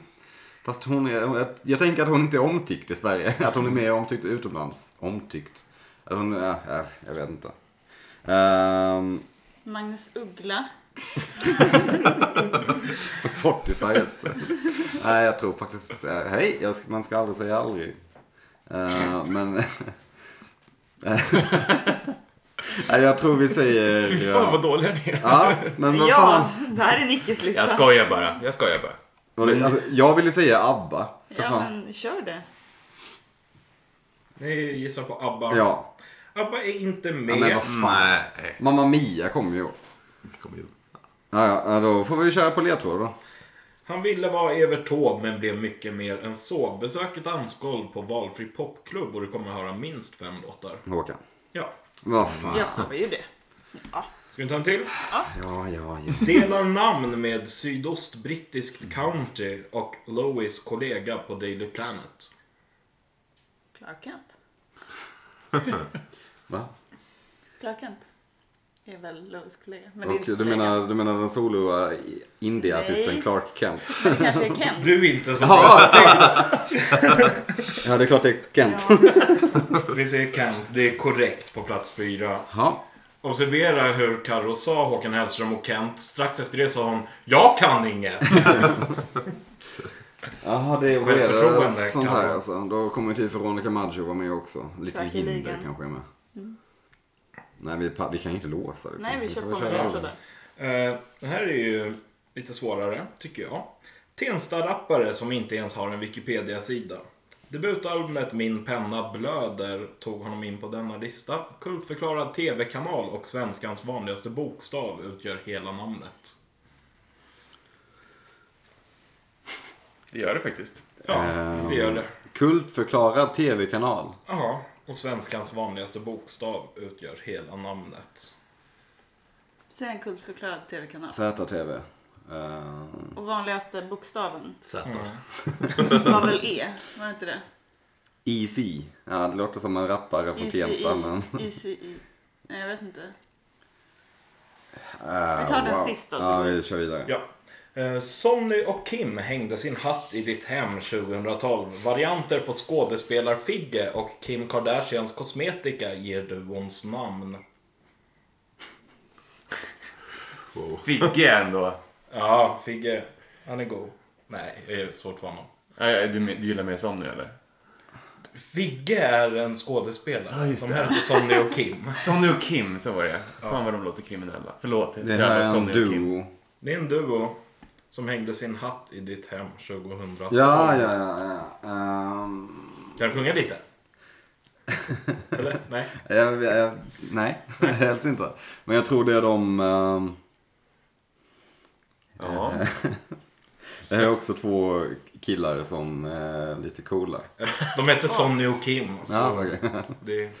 Fast hon är... Jag, jag tänker att hon inte är omtyckt i Sverige. Att hon är mer omtyckt utomlands. Omtyckt. Att hon... Ja, ja, jag vet inte. Ehm,
Magnus Uggla.
På Spotify just det. Nej, jag tror faktiskt... eh, Hej, jag ska, man ska aldrig säga aldrig. Eh, men... Nej, jag tror vi säger...
Fy fan
ja.
vad dåliga ni är.
ja, men vad fan.
Ja, det här är Nickes lista.
Jag skojar bara. Jag skojar bara.
Alltså, jag ville säga ABBA. För
Ja,
fan.
men kör det.
Ni gissar på ABBA.
Ja.
ABBA är inte
ja.
med.
Men vad fan.
Nej,
Mamma Mia kommer ju.
det kommer ju.
Ja, ja, ja, då får vi köra på ledtråd då.
Han ville vara Evert Taube men blev mycket mer än så. Besök ett Anskold på valfri popklubb och du kommer höra minst fem låtar.
Håkan.
Ja.
Vad fan.
Jag sa ju det.
Ska vi ta en till?
Ja, ja, ja.
Delar namn med sydostbrittiskt county och Lois kollega på Daily Planet.
Clark Kent.
Va?
Clark Kent. Är väl Lovis kollega. Men det är
Och
inte
du
kollega.
menar, du menar den solo eh, indieartisten
Nej.
Clark Kent?
Det kanske är Kent.
Du är inte så bra.
Ja, det är klart det är Kent.
Vi säger Kent. Det är korrekt på plats fyra.
Ja.
Observera hur Carro sa Håkan Hellström och Kent. Strax efter det sa hon Jag kan inget.
Jaha, det är vad
Självförtroende
är det
kan
sånt här
vara.
alltså. Då kommer ju typ Veronica Maggio vara med också. Lite
Säkerligen. Mm.
hinder kanske är med. Nej, vi, pa- vi kan ju inte låsa liksom.
Nej, vi
får
kör
väl
på med
köra
det.
alla.
jag tror det.
Eh, Det här är ju lite svårare, tycker jag. Tensta-rappare som inte ens har en Wikipedia-sida. Debutalbumet Min penna blöder tog honom in på denna lista. Kultförklarad TV-kanal och svenskans vanligaste bokstav utgör hela namnet.
Det gör det faktiskt.
Ja, det gör det.
Ehm. Kultförklarad tv-kanal.
Ja, och svenskans vanligaste bokstav utgör hela namnet.
Säg en kultförklarad tv-kanal.
ZTV. Eh,
Och vanligaste bokstaven
Z.
Mm.
var väl E? Var det inte det?
EC. Ja, det låter som en rappare från
E.
Tensta men...
ICI. Nej, jag vet inte.
Eh,
Vi tar den sista, så
Ja,
går vi-
vi kör vidare.
Ja. Eh, Sonny och Kim hängde sin hatt i ditt hem 2012. Varianter på skådespelar-Figge och Kim Kardashians kosmetika ger duons namn.
Figge ändå.
Ja, Figge. Han är god. Nej, det är svårt för honom.
Nej, Du, du gillar mer Sonny eller?
Figge är en skådespelare.
Ja, just
de
det.
heter Sonny och Kim.
Sonny och Kim, så var det. Fan vad de låter kriminella. Förlåt.
Det
jävla
här är en
Sonny och Kim.
duo.
Det är en duo som hängde sin hatt i ditt hem 2012.
Ja, ja, ja. ja. Ehm,
Kan jag sjunga lite? Eller? Nej?
jag, jag, nej, helt inte. Men jag tror det är de... ehm,
Ja.
det här är också två killar som är lite coola.
De heter Sonny och Kim. Så
Ja, okej.
det...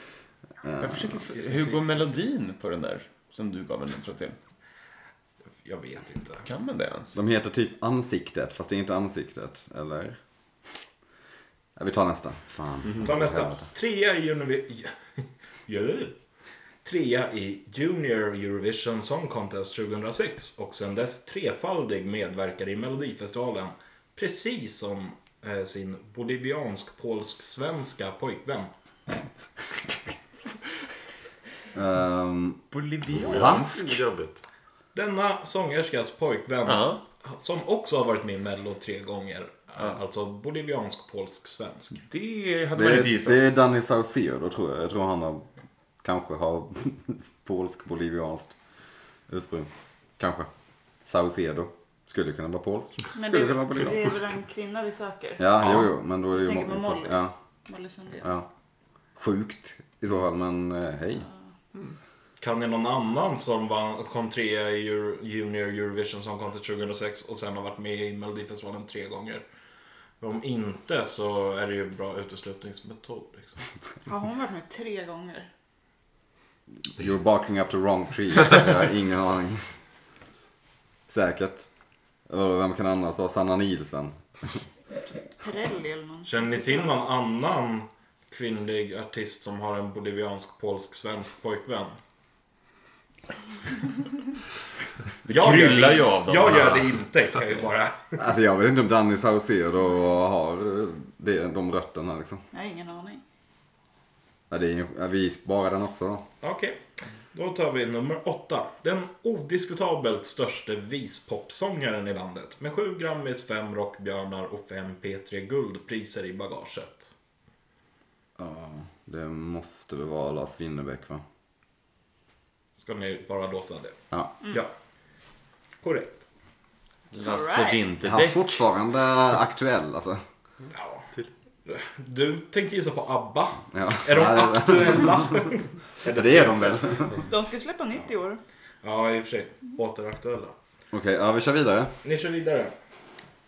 Jag försöker... Hur går melodin på den där som du gav en intro till?
Jag vet inte.
Kan man det ens?
De heter typ ansiktet, fast det är inte ansiktet, eller? Ja, vi tar nästa. Fan.
Mm-hmm. Ta nästa. Trea i Univ- Ju- Trea i Junior Eurovision Song Contest 2006 och sen dess trefaldig medverkare i Melodifestivalen. Precis som eh, sin boliviansk-polsk-svenska pojkvän.
Ehm,
Boliviansk?
Jobbigt.
Denna sångerskas pojkvän,
Ja.
som också har varit med i Mello tre gånger, alltså boliviansk-polsk-svensk.
Det hade man
det,
inte
är,
gissat.
det är Danny Saucedo, då tror jag. Jag tror han har, kanske har polsk-bolivianskt ursprung. Kanske. Saucedo. Skulle kunna vara polsk.
Men
Skulle
det,
kunna vara
det
boliviansk.
är väl en kvinna vi söker?
Ja, jo, jo, men då är det ju
tänker på
så-
Molly.
Ja,
Molly Sandén.
ja. Sjukt i så fall, men eh, hej.
Kan ni någon annan som vann, kom trea i Euro, Junior Eurovision Song Contest 2006 och sen har varit med i Melodifestivalen tre gånger? Om inte så är det ju bra uteslutningsmetod. Liksom.
Har hon varit med tre gånger?
You're barking up the wrong tree. Jag har ingen aning. Säkert. Eller Vem kan annars vara Sanna Nielsen?
Pirelli eller någon?
Känner ni till någon annan kvinnlig artist som har en boliviansk, polsk, svensk pojkvän? Det
kryllar ju av dem.
Jag gör det inte kan jag ju bara...
Alltså jag vet inte om Danny Saucedo har eh, det, de rötterna liksom.
Jag har ingen aning.
Ja, det är, ju- ja, vi sparar den också då.
Okej. Då tar vi nummer åtta. Den odiskutabelt största vispopsångaren i landet. Med sju Grammis, fem Rockbjörnar och fem P3 Guldpriser i bagaget.
Ja, det måste väl vara Lars Winnerbäck va?
Ska ni bara låsa det?
Ja.
Ja. Korrekt.
Lasse
Alright.
Han är
Vinterdäck.
fortfarande aktuell alltså.
Ja. Du tänkte gissa på ABBA.
Ja.
Är de
Ja, det-
aktuella?
Det är de väl?
De ska släppa nytt i år.
ja, i och för sig. Återaktuella.
Okej, ja vi kör vidare.
Ni kör vidare.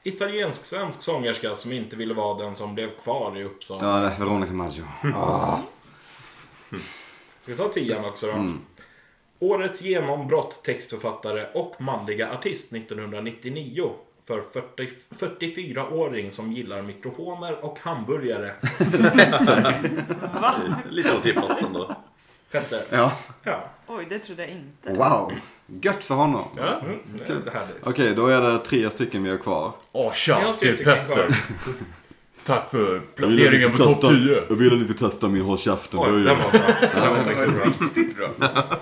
Italiensk-svensk sångerska som inte ville vara den som blev kvar i Uppsala.
Ja, det är Veronica Maggio. Ah.
Ska vi ta tian också då? Årets genombrott, textförfattare och manliga artist 1999. För 40, 44-åring som gillar mikrofoner och hamburgare.
Lite otippat ändå.
Petter.
Ja,
Ja.
Oj, det trodde jag inte.
wow. Gött för honom.
Ja.
Mm, det är härligt.
Okej, då är det tre stycken vi har kvar.
Åh,
Ni
tja,
har tre
det är
stycken kvar.
Petter. Tack för placeringen på topp 10.
Jag ville lite testa min håll käften
Oj, den var bra. Den var mycket bra.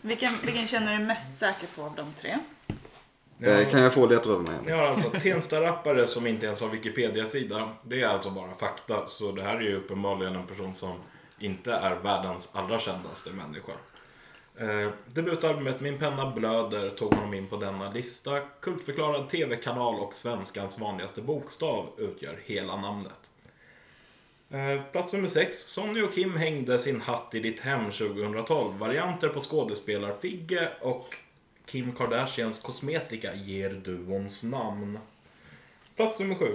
Vilken, vilken känner du dig mest säker på av de tre?
Eh, Kan jag få leta över mig?
Ni har alltså Tensta rappare som inte ens har Wikipedia-sida. Det är alltså bara fakta. Så det här är ju uppenbarligen en person som inte är världens allra kändaste människa. Eh, debutalbumet Min penna blöder tog honom in på denna lista. Kultförklarad TV-kanal och svenskans vanligaste bokstav utgör hela namnet. Eh, Plats nummer 6. Sonny och Kim hängde sin hatt i ditt hem 2012. Varianter på skådespelar Figge och Kim Kardashians kosmetika ger duons namn. Plats nummer 7.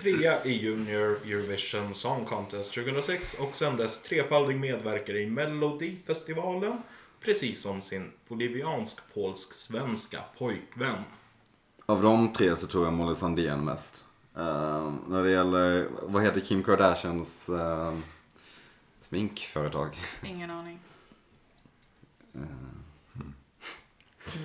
Trea i Junior Eurovision Song Contest 2006 och sen dess trefaldig medverkare i Melodifestivalen. Precis som sin boliviansk-polsk-svenska pojkvän.
Av de tre så tror jag Molly Sandén mest. Eh, när det gäller, vad heter Kim Kardashians eh, sminkföretag?
Ingen aning.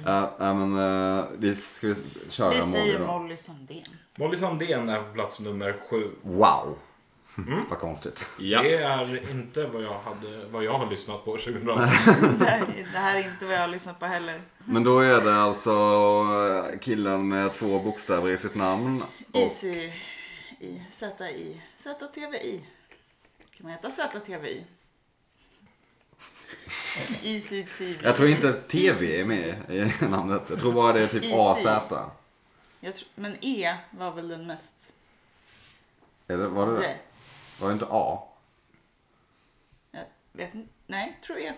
Ja, ja, men eh, vi ska vi köra
Vi
Molly
säger
då.
Molly Sandén.
Molly Sandén är på plats nummer 7.
Wow! Vad konstigt.
Det är inte vad jag, hade, vad jag har lyssnat på 2018.
Det här, det här är inte vad jag har lyssnat på heller.
Men då är det alltså eh, killen med två bokstäver i sitt namn. Och,
Easy i ZI. ZTVI. Kan man heta ZTVI? Easy TV.
jag tror inte att TV är med i namnet. Jag tror bara det är typ
Easy.
AZ.
Jag tror- men E var väl den mest...
Är det, var det det?
Z.
Var det inte A?
Jag vet inte. Nej, tror E.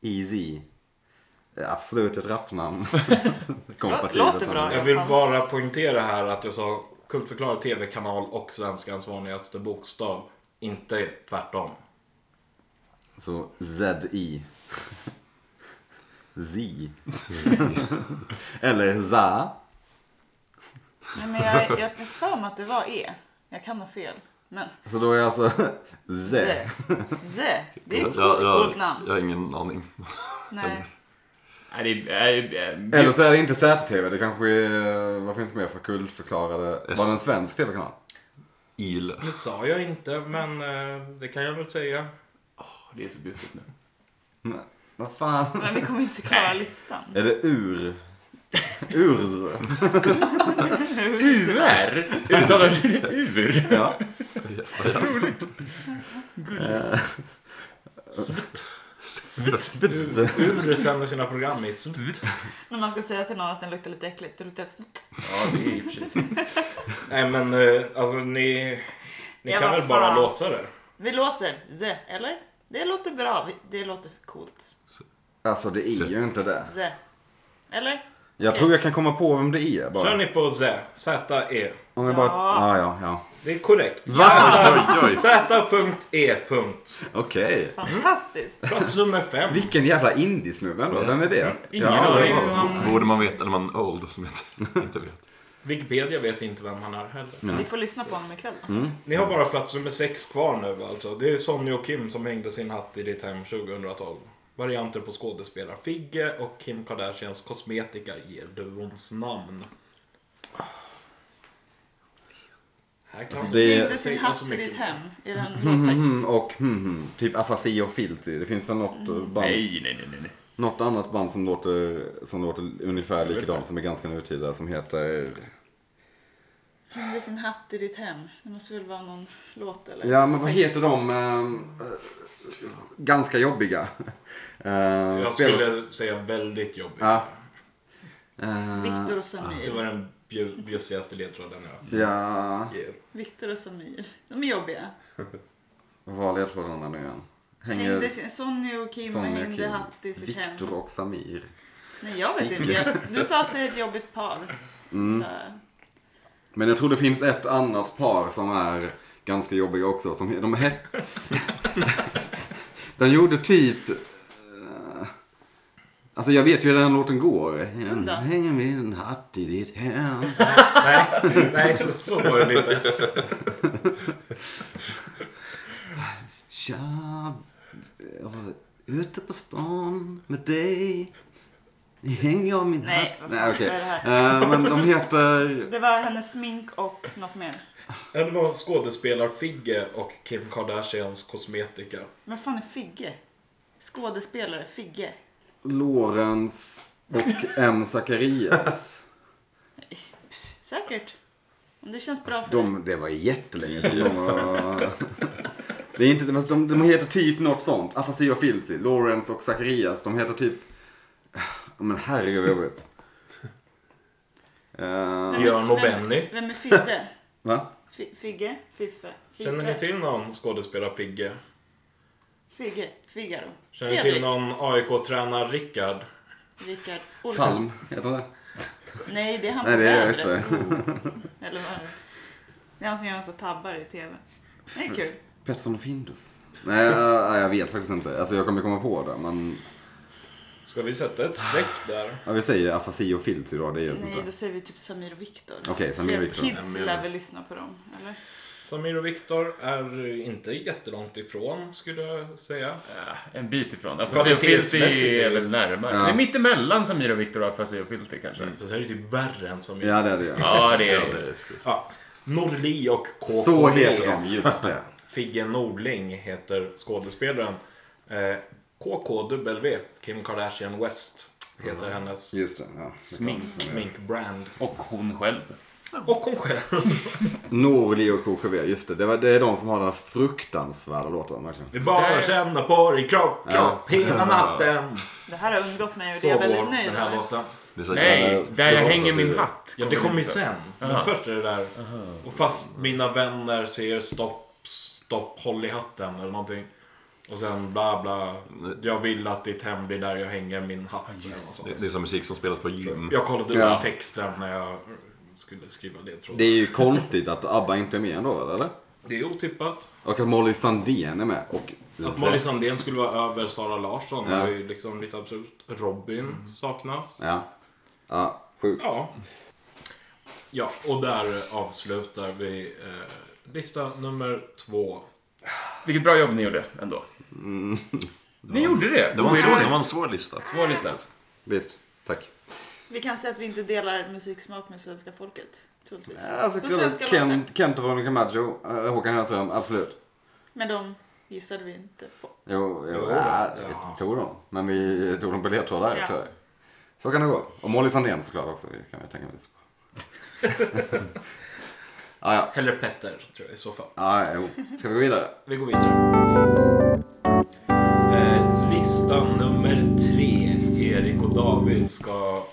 Easy. Absolut ett rapnamn.
Låter bra.
namn.
Jag vill bara poängtera här att jag sa kultförklarad tv-kanal och svenskans vanligaste bokstav. Inte tvärtom.
Så Z-I. Z. Eller ZA.
Nej, men jag, jag har för mig att det var E. Jag kan ha fel. Men
Så då är jag alltså Z.
Z. Z. Det är ett
jag, jag,
coolt namn.
jag har ingen aning.
Nej.
Nej, det är... Äh, äh,
Eller så är det inte ZTV. Det kanske är... Vad finns det mer för kultförklarade?
S.
Var det en svensk TV-kanal?
Il.
Det sa jag inte, men eh, det kan jag väl säga.
det är så busigt nu.
Men, Vad fan?
Men vi kommer inte klara listan.
Är det ur? Urs?
UR? Uttalar du det ur?
Ja.
Svits.
Spets.
Ur sänder sina program i svt.
När man ska säga till någon att den luktar lite äckligt, då luktar det svt.
Ja, det är i och för sig sant.
Nej men eh, alltså ni... Ni
Ja,
kan
vad
väl bara
fan.
låsa det?
Vi låser Z, eller? Det låter bra. Vi- Det låter coolt.
Alltså det är ju inte det.
Z. Eller?
Jag tror jag kan komma på vem det är
Kör
bara.
ni på Z, Z-E.
Om jag bara...
Ja.
Ja, ja, ja.
Det är korrekt.
Va?
Oj, oj.
Z.E.
Okej.
Fantastiskt.
Plats nummer fem.
Vilken jävla indiesnubbe ändå. Vem är det?
Ingen
ja,
aning.
det var-
Borde man veta, eller man old som inte, inte vet.
Wikipedia vet inte vem han är heller.
Mm.
Vi får lyssna på honom ikväll. då.
Ni har bara plats nummer sex kvar nu alltså. Det är Sonny och Kim som hängde sin hatt i ditt hem 2012. Varianter på skådespelar Figge och Kim Kardashians kosmetika ger duons namn. Här kan
Alltså,
man
det är-
inte
Inte sin
säga
hatt
så
i
mycket.
ditt hem. I den
Mm,
låttext.
och mm, mm, typ afasi och filty. Det finns väl något, eh, band,
Nej, nej, nej, nej, nej.
något annat band som låter, som låter ungefär likadant som är ganska nutida som heter...
Inte sin hatt i ditt hem. Det måste väl vara någon låt eller?
Ja men vad
text.
heter de? eh, eh, ganska jobbiga. Eh,
Jag
spelas-
skulle säga väldigt jobbigt.
Ja. Eh,
Viktor och
Det
Samir.
var den bju- bjussigaste ledtråden jag
Eh, ja,
ger.
Viktor och Samir. De är jobbiga.
vad var ledtrådarna nu igen?
Hängde
Hänger
sin, Sonny och Kim
Sonja
hängde
Kim,
hatt i sitt hem.
Viktor och Samir.
Nej, jag vet inte. Jag, du sa sig ett jobbigt par.
Mm.
Så,
Men jag tror det finns ett annat par som är ganska jobbiga också. Som, de hette... de gjorde typ... eh, Alltså jag vet ju hur den låten går.
då.
Hänger min hatt i ditt hem.
Nej, nej så, så var det inte.
Tja, jag var ute på stan med dig. Hänger jag min
Nej,
hatt...
vad fan
okej.
är det
Eh, men de heter...
det var hennes smink och något mer.
Ja, Det var skådespelar Figge och Kim Kardashians kosmetika.
Men fan är Figge? Skådespelare Figge.
Lorenz och M. Zacharias.
Säkert. Om det känns bra
Alltså,
för dig.
de, det var jättelänge sedan de var... Det är inte, men de, de heter typ något sånt. Afasi och Filthy, Lorenz och Zacharias. De heter typ... Ah, Men herregud vad jobbigt. Eh,
Björn och
Vem-
Benny.
Vem är Fidde?
va?
Fi- Figge? Fiffe? Fiffe?
Känner ni till någon skådespelare Figge?
Figge? Figaro?
Känner ni till någon AIK-tränare Rickard?
Rickard? Olsson?
Palm, heter han det?
Nej, det är han på
Nej, det är
vädret.
just det.
Eller vad är det? Det är han som gör en massa tabbar i TV. Det är kul.
Pettersson och Findus. Nej, jag, jag vet faktiskt inte. Alltså jag kommer komma på det, men...
Ska vi sätta ett streck där?
Ja, vi säger afasi och Filthy då, det hjälper
Nej, då
inte.
säger vi typ Samir och Viktor.
Okej, Samir och
Fler
Viktor.
Kids lär väl lyssna på dem, eller?
Samir och Viktor är inte jättelångt ifrån skulle jag säga.
En bit ifrån. Afasi och
Kvalitetsmässigt
Filthy
är
är
det-
väl närmare.
Ja.
Det är mittemellan Samir och Viktor och Afasi och Filthy kanske.
Fast det här är ju typ värre än Samir.
Ja, det är det ju.
Ja, det
Ja,
är det.
det ska vi säga.
Ja. Norli och KKV.
Så heter de, just det.
Figge Nordling heter skådespelaren. Eh, KKW, Kim Kardashian West, heter hennes
Just det, ja.
smink, sminkbrand.
Och hon själv.
Och hon själv.
Norli och KKV, just det. Det, var, det är de som har den här fruktansvärda låten, verkligen.
Vi bara känna på dig, kropp,
Ja.
kropp, hela natten.
Det här har undgått mig och
Så
det är jag
går
väldigt
den
nöjd
här
med.
låten.
Det är eh, säkert-
Nej,
Nej,
där jag
förlåt,
hänger
att
min
det-
hatt.
Ja, det kommer ju
inte.
sen. Men
Aha.
först är det där. Och fast mina vänner säger stopp, stopp, håll i hatten eller någonting. Och sen bla bla. Jag vill att ditt hem blir där jag hänger min hatt. eller något sånt.
Det det är som musik som spelas på gym.
Jag kollade upp
Ja.
texten när jag skulle skriva ledtrådar.
Det är ju konstigt att ABBA inte är med ändå, eller?
Det är otippat.
Och att Molly Sandén är med. Och
Att Molly Sandén skulle vara över Sara Larsson
Ja.
är ju liksom lite absurt. Robin saknas.
Ja. Ja, sjukt.
Ja. Ja, och där avslutar vi eh, lista nummer två.
Vilket bra jobb ni gjorde ändå.
Mm.
Ni gjorde det.
Det var, en svår, det
Oironiskt.
var en svår lista.
Svår lista.
Visst. Tack.
Vi kan säga att vi inte delar musiksmak med svenska folket. Troligtvis.
Alltså,
på svenska
Ken,
låtar.
Kent och Veronica Maggio, eh, Håkan Hellström, absolut.
Men de gissade vi inte på.
Jo, jo
Jo,
ja,
ja.
vi tog dem. Men vi tog dem på ledtrådar,
Ja.
tror jag. Så kan det gå. Och Molly Sandén såklart också, det kan vi tänka oss. ah, ja,
Eller Petter, tror jag i så fall.
ah, jo. Ska vi gå vidare?
Vi går vidare. Eh, lista nummer tre. Erik och David ska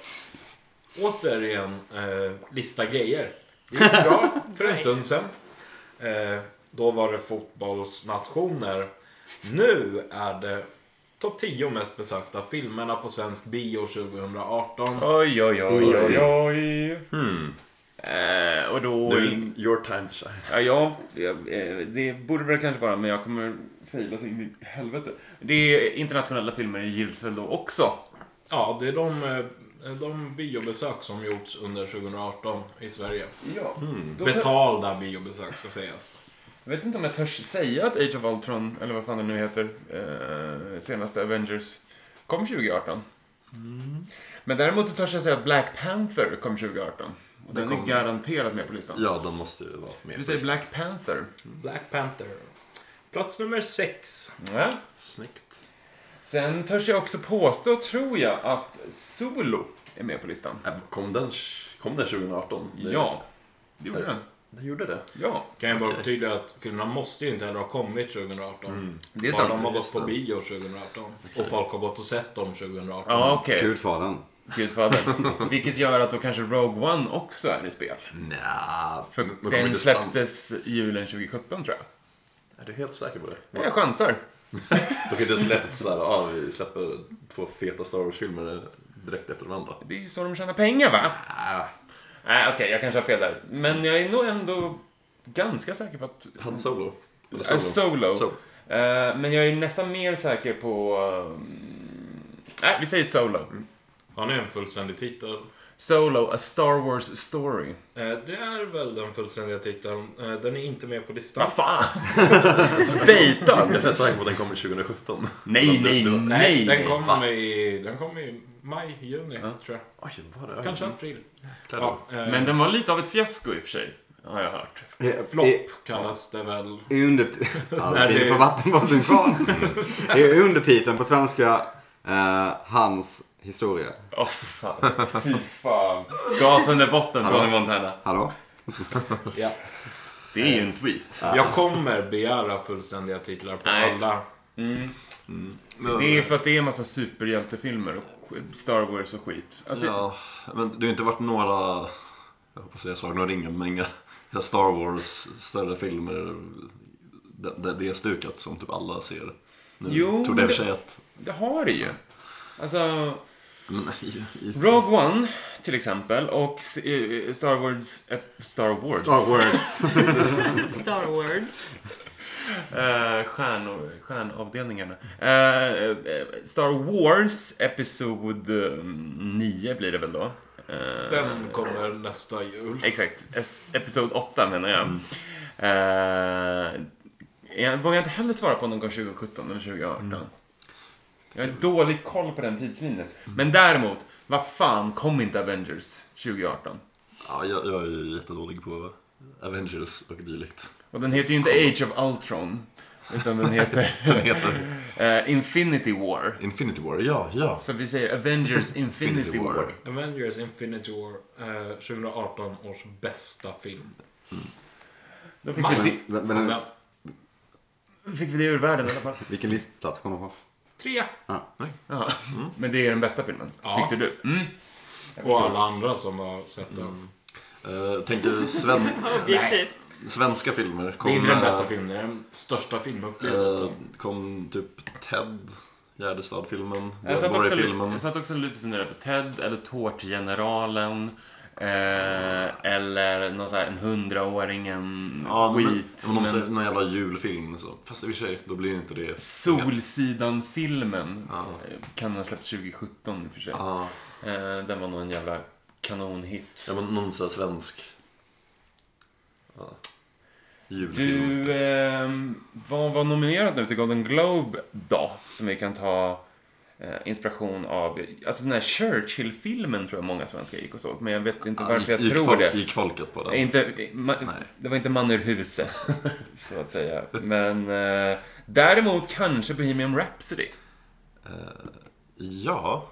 återigen eh, lista grejer. Det gick bra för en stund sedan. Eh, då var det fotbollsnationer. Nu är det topp 10 mest besökta filmerna på svensk bio 2018.
Oj, oj, oj,
Easy.
oj, oj. Eh, och då...
your time to shine.
Ja, ja det, eh, det borde väl kanske vara, men jag kommer fejla så in i helvete. Det är internationella filmer gills väl då också?
Ja, det är de, eh, de biobesök som gjorts under 2018 i Sverige.
Ja. Mm. Då kan-
Betalda biobesök ska sägas.
Jag vet inte om jag törs säga att Age of Ultron, eller vad fan det nu heter, eh, senaste Avengers, kom 2018. Mm. Men däremot så törs jag säga att Black Panther kom 2018. Och den är
kom-
garanterat med på listan.
Ja, den måste ju vara med.
Vi säger Black Panther.
Black Panther. Plats nummer sex.
Ja.
Snyggt.
Sen törs jag också påstå, tror jag, att Solo är med på listan.
Äh, Kom den, kom den 2018? Det-
Ja, det gjorde den.
Den gjorde det.
Ja.
Kan jag bara förtydliga att filmerna måste ju inte heller ha kommit 2018.
Det är
bara
sant.
de har gått
just
på
det.
bio 2018. Och folk har gått och sett dem 2018.
Ja, okej.
Gudfadern.
Gudfadern. Vilket gör att då kanske Rogue One också är i spel.
Nja...
För
men- men kommer
den
inte sam-
släpptes julen 2017, tror jag.
Är du helt säker på det?
Jag chansar.
De kan inte släppa såhär, ja vi släpper två feta Star Wars-filmer direkt efter varandra.
Det är ju så de tjänar pengar, va? Ah,
Ah.
Nej, okej, jag kanske har fel där. Men jag är nog ändå ganska säker på att...
Han Solo. Eller
Solo. solo.
Solo.
Eh, men jag är nästan mer säker på... mm, Nej, vi säger Solo.
Har ni en fullständig titel?
Solo, A Star Wars Story.
Eh, Det är väl den fullständiga titeln. Eh, Den är inte med på listan.
Vad fan! Dejtad!
Jag är säker på att den kommer 2017.
Nej, nej, nej. nej.
den kommer i, den kom i maj, juni, tror jag.
Oj, vad det är.
Kanske april.
Kläder.
eh,
Men den var lite av ett fiasko i och för sig. har jag hört.
Flopp kallas det väl.
Eh, I under... Albin
Nej, det-
får vatten på sin kvarn. I undertiteln på svenska, eh, hans historia.
Åh, fy fan. Fy fan. Gasande botten, Tony Montana.
Hallå?
Ja.
Det är ju en tweet.
Jag kommer begära fullständiga titlar på
Nej.
alla.
Mm. Det är för att det är en massa superhjältefilmer och sk- Star Wars och skit. Alltså,
Ja, men det har ju inte varit några, jag hoppas säga Sagan om ringen, men inga Star Wars större filmer där där det är stukat som typ alla ser. Nu tror
Jo,
det i och
men
för sig att,
Det har det ju. Alltså,
men i, i,
Rogue One till exempel och s- eh, Star Wars... eh, Star Wars?
Star Wars.
Star Wars.
Eh, stjärnor, stjärnavdelningarna. Eh, eh, Star Wars Episod 9 blir det väl då? Eh,
Den kommer nästa jul.
Exakt. Es- Episod 8 menar jag. Eh, jag vågar inte heller svara på om de kom 2017 eller 2018. Jag har dålig koll på den tidslinjen. Men däremot, vad fan kom inte Avengers 2018?
ja, jag, jag är ju jättedålig på Avengers och dylikt.
Och den heter ju inte Age of Ultron. Utan den heter
Den heter
eh, Infinity War.
Infinity War, ja, ja.
Så vi säger Avengers Infinity
Infinity War.
War.
Avengers Infinity War, eh, 2018 års bästa film.
Då fick vi,
Men, men,
Den.
det, fick vi det ur världen i alla fall.
vilken listplats kom de på?
Tre!
Ja. Men det är den bästa filmen,
Ja.
tyckte du? Mm.
Och alla andra som har sett den.
Eh, tänker sven,
Objektivt.
svenska filmer.
Det
Kom,
är inte den bästa
eh,
filmen, det är den största filmupplevelsen.
eh,
alltså.
Kom typ Ted, Gärdestad-filmen,
Jag satt, också, li-
Borg-filmen.
jag satt också lite och funderade på Ted eller Tårtgeneralen. Eh, eller någon sån här en hundraåringen
Ja, men-
skit.
Om
Men,
de säger någon jävla julfilm så. Fast i och för sig, då blir det inte det.
Solsidan-filmen
Ja.
eh, kan ha släppt 2017 i och för sig.
Ja,
Eh, den var nog en jävla kanonhit.
ja men någon sån här svensk. Ja. Julfilm.
Du, ehm, vad var nominerad nu till Golden Globe då? Som vi kan ta eh, inspiration av. Alltså den här Churchill-filmen tror jag många svenskar gick och såg. Men jag vet
Ah,
inte varför jag
gick,
tror
folk,
det.
Gick folket på
Nej,
den?
Eh, Inte, ma, det var inte man ur huset, så att säga. Men eh, däremot kanske Bohemian Rhapsody.
Ja.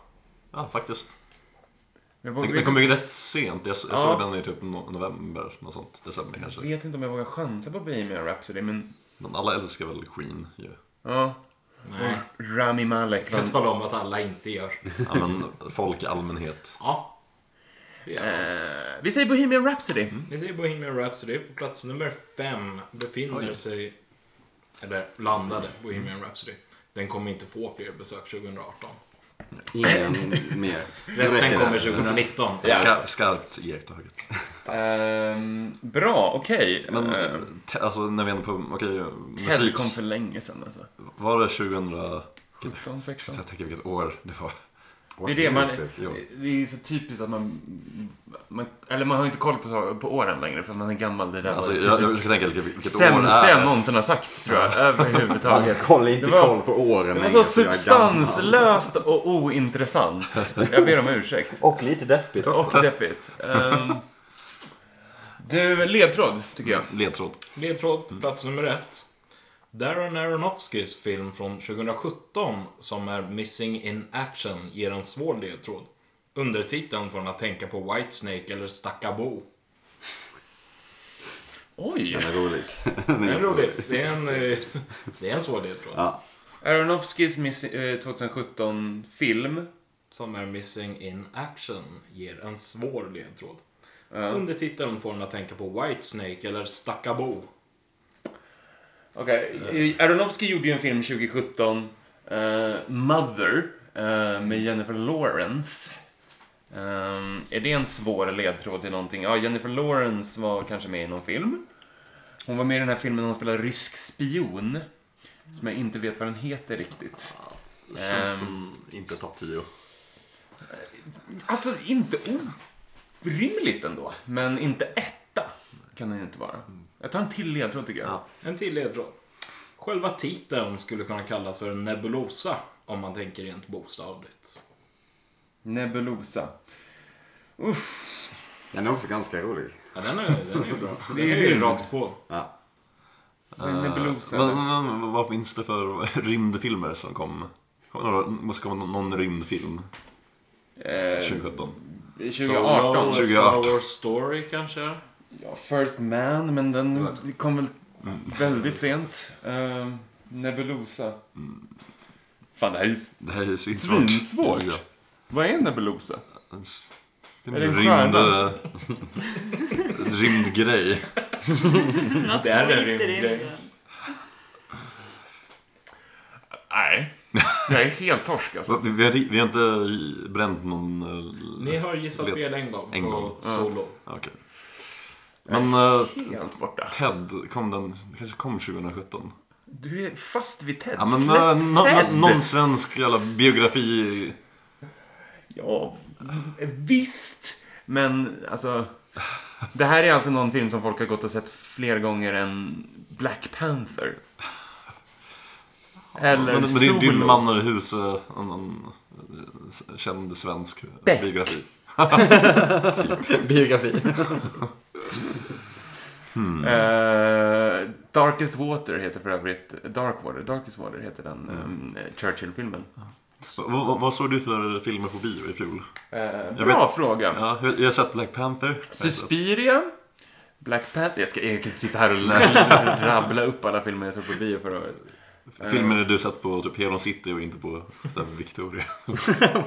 Ja, faktiskt. Den,
Jag, vågar,
den kom ju rätt sent. Jag, jag
Ja.
såg den i typ no- november, något sånt. December
jag
kanske.
vet inte om jag vågar chansa på Bohemian Rhapsody, men
Men alla älskar väl Queen ju.
ja.
Nej.
Rami Malek
Jag kan
vann.
tala om att alla inte gör.
Ja, men folk i allmänhet.
Ja. ja.
Eh, vi säger Bohemian Rhapsody.
Mm,
Ni ser Bohemian Rhapsody. På plats nummer fem befinner sig, eller landade, Bohemian Rhapsody. Den kommer inte få fler besök 2018.
Ingen mer. Nu
Resten
räcker det.
kommer 2019.
Ska, skarpt iakttaget.
Ehm, bra, okej.
Men
Eh,
te, alltså när vi ändå på, okej,
Ted
musik.
kom för länge sedan alltså.
Var det 2000?
17, 16.
Jag tänker vilket år det var.
Det är det man...
Justice.
Jo.
Det är ju så typiskt att man... man eller man har inte koll på, på åren längre för att man är gammal. Det där
Alltså,
var
jag,
typ-
jag försöker tänka vilket, vilket år det
Sämsta jag
är.
någonsin har sagt tror jag, överhuvudtaget.
Kolla inte
Det var-
koll på åren
Det var
längre,
så
för jag är gammal.
substanslöst och ointressant. Jag ber om ursäkt.
Och lite deppigt också.
Och deppigt. Ehm, du, ledtråd tycker jag.
Ledtråd.
Ledtråd på plats nummer ett. Darren Aronofskys film från 2017 som är Missing in Action ger en svår ledtråd. Undertiteln får en att tänka på Whitesnake eller Stackabo.
Oj!
Den är rolig.
Det är roligt. Det är en, eh, det är en svår ledtråd.
Ja.
Aronofskys miss, eh, 2017-film.
Som är Missing in Action ger en svår ledtråd. Undertiteln får en att tänka på Whitesnake eller Stackabo.
Okej, eh, Aronofsky gjorde ju en film 2017, eh, Mother, eh, med Jennifer Lawrence. Ehm, är det en svår ledtråd till någonting? Ja, Jennifer Lawrence var kanske med i någon film. Hon var med i den här filmen när hon spelade rysk spion. Som jag inte vet vad den heter riktigt.
Känns
Ehm.
som inte topp 10.
Alltså, inte orimligt ändå, men inte etta kan den ju inte vara. Jag tar en till ledtråd tycker jag.
Mm. Ja.
En till ledtråd. Själva titeln skulle kunna kallas för en nebulosa om man tänker rent bokstavligt.
Nebulosa. Uff.
Den är också ganska rolig.
Ja, den är, den är ju bra. Det är ju rakt på.
Ja.
Men det blues,
Ah. men, men, men vad finns det för rymdfilmer som kom? Kommer det några- Måste komma någon, någon rymdfilm
Eh,
2017?
2018.
Solo,
2018.
Star Wars Story kanske.
Ja, First Man, men den kom väl
Mm.
väldigt sent. Eh, Nebulosa.
Mm.
Fan, det här är ju...
Det här är svinsvårt.
Svinsvårt.
Ja.
Vad är Nebulosa?
Det
Är
är
det en
en rymd...
stjärna?
rymdgrej.
Något
Det är en
skiter i
rymdgrej.
det.
Nej. Jag är helt torsk alltså.
Så vi, vi, har, vi har inte bränt någon... eh,
Ni har gissat
Vet-
fel en gång
en
på
gång.
Solo.
Ja, Okej. Men eh,
Helt borta.
Ted, kom den... det kanske kom 2017?
Du är fast vid Ted.
Ja, men
Släpp
eh, nå-
Ted!
nå- någon svensk jävla biografi...
Ja, visst. Men alltså. Det här är alltså någon film som folk har gått och sett fler gånger än Black Panther. Eller
men, men det
Solo.
är din man och hus, eh, en, en, eh, känd svensk
Beck.
biografi.
Biografi.
Mm.
Eh, Darkest Water heter för övrigt Dark Water. Darkest Water heter den
Mm.
eh, Churchill-filmen.
Så, vad- vad, vad såg du för filmer på bio i fjol?
Eh,
Jag
bra fråga.
Ja, jag jag har sett Black Panther.
Suspiria. Black Panther. Jag, ska, jag kan inte sitta här och rabbla upp alla filmer jag såg på bio förra året.
Filmer du sett på typ Helon City och inte på där Victoria.
Vad spelar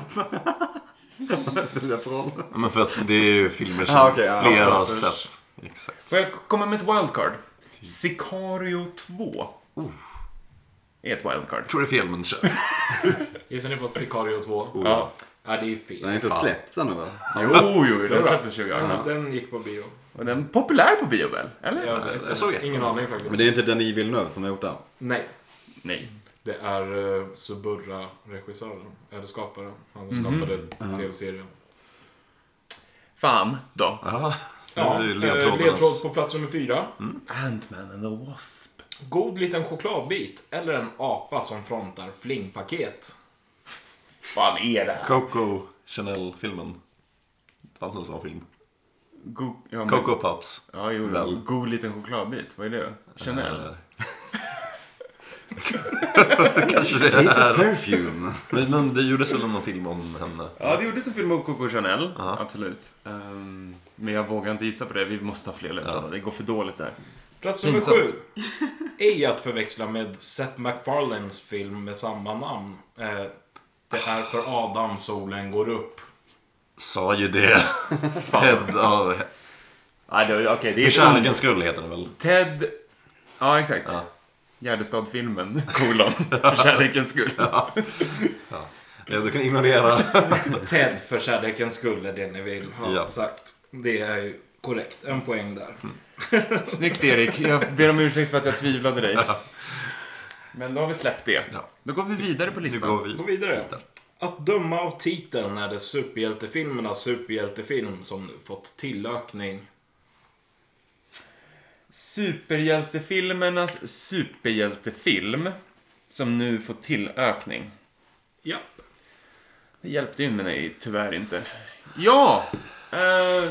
det för roll?
Ja, Men för att det är ju filmer som
Ja, okej, ja.
flera har
Ja,
sett. Exakt.
Får jag komma med ett wildcard?
Typ.
Sicario 2. Är ett wildcard.
Jag tror det är fel, men kör.
Gissar ni på Sicario 2?
Ja.
Ja, det är ju
Den är
fel.
inte släppt ännu va?
Jo, jo, jo,
bra.
den släpptes 2018.
Den gick på bio.
Och den är populär på bio väl? Eller?
Jag, vet,
jag såg ett.
Ingen aning faktiskt.
Men det är inte Denis Villeneuve som har gjort den.
Nej.
Nej.
Det är eh, Suburra-regissören. Eller skaparen. Han som skapade tv-serien.
Fan då.
Ja, det
Ja,
är
eh,
ju
ledtråd
ledtrådarnas.
på plats nummer fyra.
Ant-Man and the Wasp.
God liten chokladbit eller en apa som frontar flingpaket.
Vad är det här?
Coco Chanel-filmen. Det fanns en sån film.
Go- ja, men-
Coco Pups.
Ja, jo,
Väl. Eh.
jo. God liten chokladbit. Vad är det? Chanel?
Kanske det
Hitta
är.
Perfume.
Men, men det gjordes väl någon film om henne?
Ja, det gjordes en film om Coco Chanel.
Ja.
Absolut. Ehm, men jag vågar inte gissa på det. Vi måste ha fler ledtrådar. Det går för dåligt där.
Plats nummer sju.
Pinsamt.
Ej att förväxla med Seth MacFarlanes film med samma namn. Eh, det är för Adam solen går upp.
Sa ju det. Ted, ja.
Nej, det, okej. det
För
är
kärlekens skull heter den väl?
Ted... Ja, exakt.
Ja.
Gärdestad-filmen, kolon. För kärlekens skull.
Ja, du kan ignorera.
Ted för kärlekens skull är det ni vill ha
Ja.
sagt. Det är ju korrekt. En poäng där.
Snyggt Erik. Jag ber om ursäkt för att jag tvivlade dig. Men då har vi släppt det.
Ja.
Då går vi vidare på
Nu
listan.
går vi.
Gå vidare. Att döma av titeln är det superhjältefilmernas superhjältefilm som nu fått tillökning.
Superhjältefilmernas superhjältefilm som nu får tillökning.
Ja.
Det hjälpte ju mig tyvärr inte. Ja! Eh,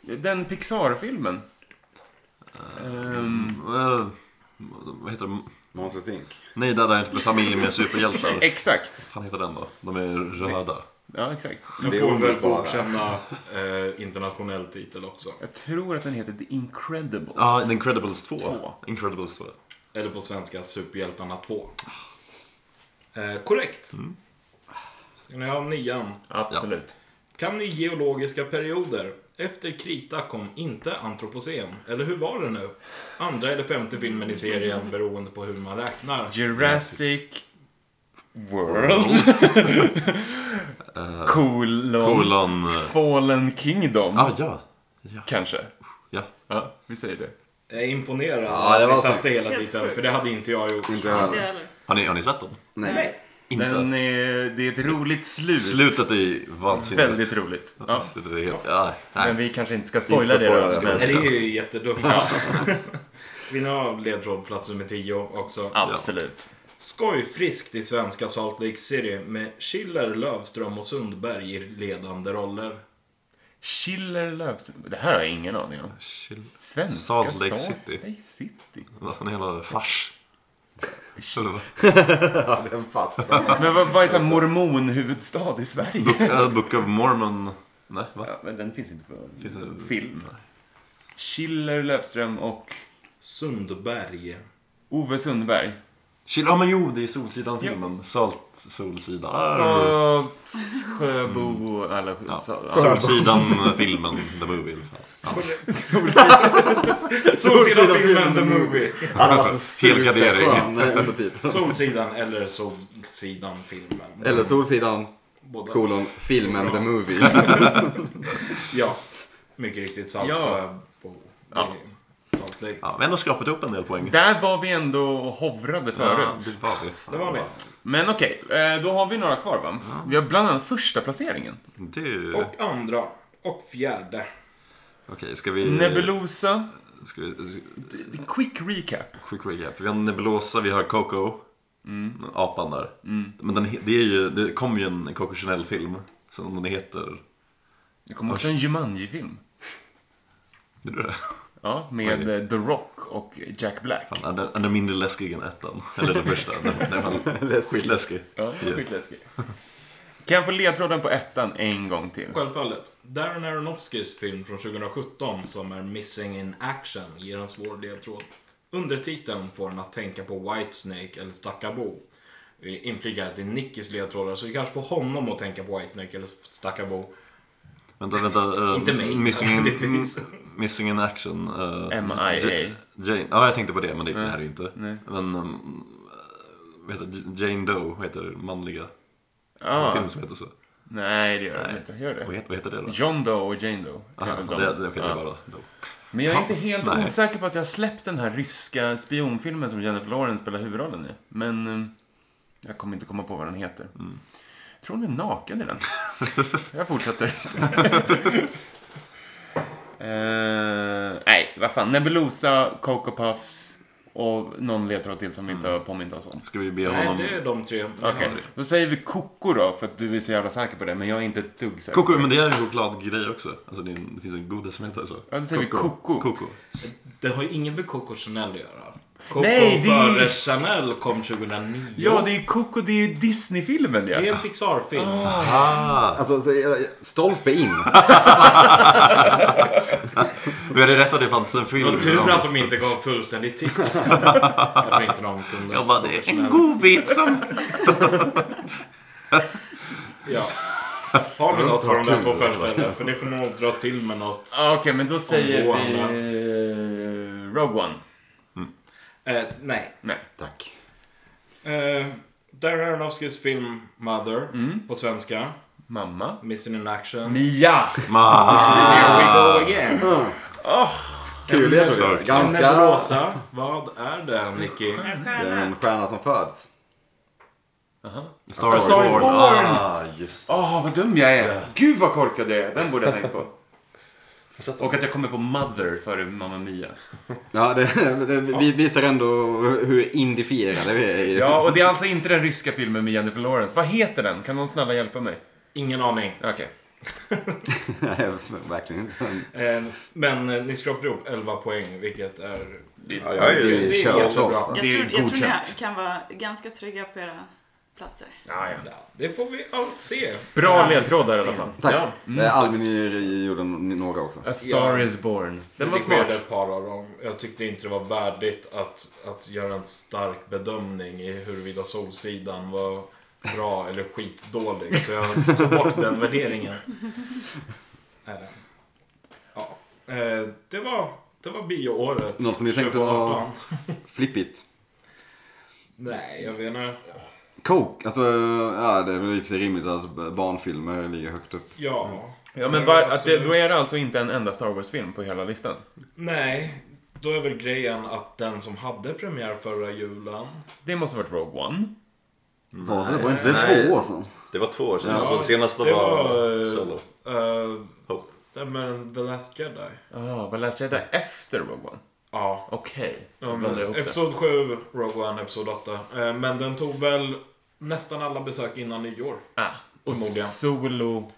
den Pixar-filmen. Ehm,
Eh, vad heter de?
Måns Rosink.
Nej, där är inte med familj med superhjältar. Vad
exakt.
fan heter den då? De är röda.
Ja, exakt.
Nu
Det är
får vi väl
underbara.
godkänna eh, internationell titel också.
Jag tror att den heter The Incredibles.
Ja, The Incredibles 2.
Två.
Incredibles 2.
Eller på svenska Superhjältarna 2. Eh, korrekt. Ska ni ha nian?
Absolut.
Kan ni geologiska perioder? Efter krita kom inte antropocen. Eller hur var det nu? Andra eller femte filmen i serien beroende på hur man räknar.
Jurassic World. Colon.
Kolon... eh,
Fallen Kingdom.
Ah, ja. Ja.
Kanske.
ja.
Ja, vi säger det.
Jag är imponerad
Ja,
att
det var
ni
snyggt.
satte hela titeln, för det hade inte jag gjort.
Inte jag
Det
heller.
är det.
Har, ni, har ni sett den?
Nej.
Inte?
Den är, det är ett roligt slut.
Slutet är vansinnigt.
Väldigt roligt. Ja.
Ja. Slutet är helt... Ja, nej.
Men vi kanske inte ska spoila
Inte ska
det då.
spoila
Nej,
Men...
Det är ju jättedumt. Vill ni ha ledtråd plats nummer 10 också?
Absolut.
Skoj friskt i svenska Salt Lake City med Schiller, Lövström och Sundberg i ledande roller.
Schiller Löfström. Det här har jag ingen aning om.
Chill.
Svenska
Salt Lake
Salt
City.
Lake City.
Vad fan är hela fars? Eller vad?
Ja, den passar.
Men vad, vad är så här mormonhuvudstad i Sverige?
Book, Book of Mormon. Nej, va?
Ja, men den finns inte på
Finns det-
film. Schiller Löfström och
Sundberg.
Ove Sundberg.
Chill, ja men jo, det är Solsidan-filmen. Salt, Solsidan. Ah,
Salt, Sjöbo och alla...
Mm. Ja.
Sol-
Solsidan-filmen, the movie i alla fall.
Solsidan.
Solsidan-filmen The Movie.
Han har alltså
Helgardering.
superskön undertitel.
Solsidan eller Solsidan-filmen.
Eller Solsidan,
Båda.
kolon, filmen The Movie.
Ja, mycket riktigt. Salt
Ja.
på
Ja.
Salt Lake.
Ja, vi har ändå skrapat ihop en del poäng.
Där var vi ändå och hovrade förut.
Ja, det var vi. Fan,
Det var vi.
Men okej, eh, då har vi några kvar va? Vi har bland annat första placeringen.
Du. Okej,
Och andra. Och fjärde.
ska vi...
Nebulosa.
Ska vi...
Quick recap.
Quick recap. Vi har Nebulosa, vi har Coco.
Mm.
Apan där. Men den, he- det, är ju, det kom ju en Coco Chanel-film. Som den heter...
Det kommer också en Jumanji-film.
Är det det?
Ja, med eh, The Rock och Jack Black.
Fan, den, den är mindre läskig än ettan. Eller den första. Den, den är fan skitläskig.
Ja, skitläskig. Kan jag få ledtråden på ettan en gång till?
Självfallet. Darren Aronofskys film från 2017 som är Missing in Action ger en svår ledtråd. Undertiteln får en att tänka på Whitesnake eller Stackabo. Inflikar till Nickis ledtrådar, så vi kanske får honom att tänka på Whitesnake eller Stackabo.
Vänta, vänta. eh,
Inte mig,
Missing in,
naturligtvis.
missing in action. eh,
M.I.A..
Ja- Jane. Ja, jag tänkte på det, men det, det här är ju inte.
Nej.
Men... Um, vad heter det? Jane Doe vad heter det? manliga.
Ah,
Film som heter så.
nej, det gör det
Nej.
inte. Gör
Vad
det?
heter, vad heter det då?
John Doe och Jane Doe. är
Aha,
väl
det,
de.
det, okej, det är
Ja.
bara Doe.
Men jag är inte helt
Nej.
osäker på att jag har släppt den här ryska spionfilmen som Jennifer Lawrence spelar huvudrollen i. Men eh, jag kommer inte komma på vad den heter.
Mm.
Jag tror hon är naken i den. jag fortsätter. Eh, nej, vad fan. Nebulosa, Coco Puffs och någon ledtråd till som vi
Mm.
inte har påmint oss om.
Ska vi be
Nej,
honom...
det är de tre.
Okej, då säger vi Coco då för att du är så jävla säker på det. Men jag är inte ett dugg säker.
Koko, men det är en chokladgrej också. Alltså det, är en, det finns en godis som heter så.
Ja, då säger vi koko.
Koko.
Det har ju inget med Coco Chanel att göra. Coco
Nej, det är-
före Chanel kom 2009.
Ja, det är Coco. Det är ju Disney-filmen ja.
Det är en Pixar-film.
Ah!
Alltså, så, stolpe in.
Vi hade rätt att det fanns en film.
Det var tur att de inte gav fullständig titt. Jag tror inte de kunde.
Jag bara, det är en godbit som...
Ja. Har ni något på de där
tur,
två första eller? För ni får nog dra till med något.
Ja, Okej, men då säger vi
Omgående.
eh, Rogue One.
Eh, nej.
Nej.
Tack.
Eh, Darren Aronofskys film Mother på svenska.
Mamma.
Missing in action.
Mia!
Ma-
Here we go again.
Kul
så-
ledtråd.
En
Ganska...
Nebulosa. Vad är det, Nicky?
Den stjärna som föds.
Star Wars
Star is
Born.
Born.
Ah, just
Åh, vad dum jag är! Gud vad korkad jag är! Den borde jag tänkt på. Och att jag kommer på Mother före Mamma Mia.
Ja, det, det vi visar ändå hur indifierade vi är. i-
Ja, och det är alltså inte den ryska filmen med Jennifer Lawrence. Vad heter den? Kan någon snälla hjälpa mig?
Ingen aning.
Okej.
Nej, verkligen inte.
Eh, men eh, ni skrapade ihop 11 poäng, vilket är...
Ja, ja, det är
det är
kört
jättebra.
loss.
Jag
Det är
tror, jag tror ni
godkänt.
kan vara ganska trygga på era platser.
Ja, ja.
Ja, det får vi allt se.
Bra ledtrådar i alla fall.
Tack.
Ja.
Eh, Albin Nyr gjorde n- några också.
A Star is Born. Den var
fick med
smart.
ett par av dem. Jag tyckte inte det var värdigt att, att göra en stark bedömning i huruvida Solsidan var bra eller skitdålig. Så jag tog bort den värderingen. Eh, ja. Eh, det var, det var bioåret.
Något som ni tänkte
2018.
var- Flippigt.
Nej, jag menar...
Coke, alltså ja, det är väl inte så rimligt att barnfilmer ligger högt upp.
Ja.
Ja, men var, att det, då är det alltså inte en enda Star Wars-film på hela listan.
Nej, då är väl grejen att den som hade premiär förra julen...
Det måste ha varit Rogue One.
Var det, var inte det
Nej.
två år sedan?
Det var två år sedan.
Ja,
alltså, det senaste
det
var,
var, eh,
Solo.
Uh,
Oh.
men The Last Jedi.
Ah, vad läste jag där efter Rogue One?
Ja,
Okej.
Ja,
Jag
men
blandade ihop det.
episod 7, Rogue One, Episod 8. Eh, Men den tog väl nästan alla besök innan nyår.
Ah, och
Förmodligen.
Solo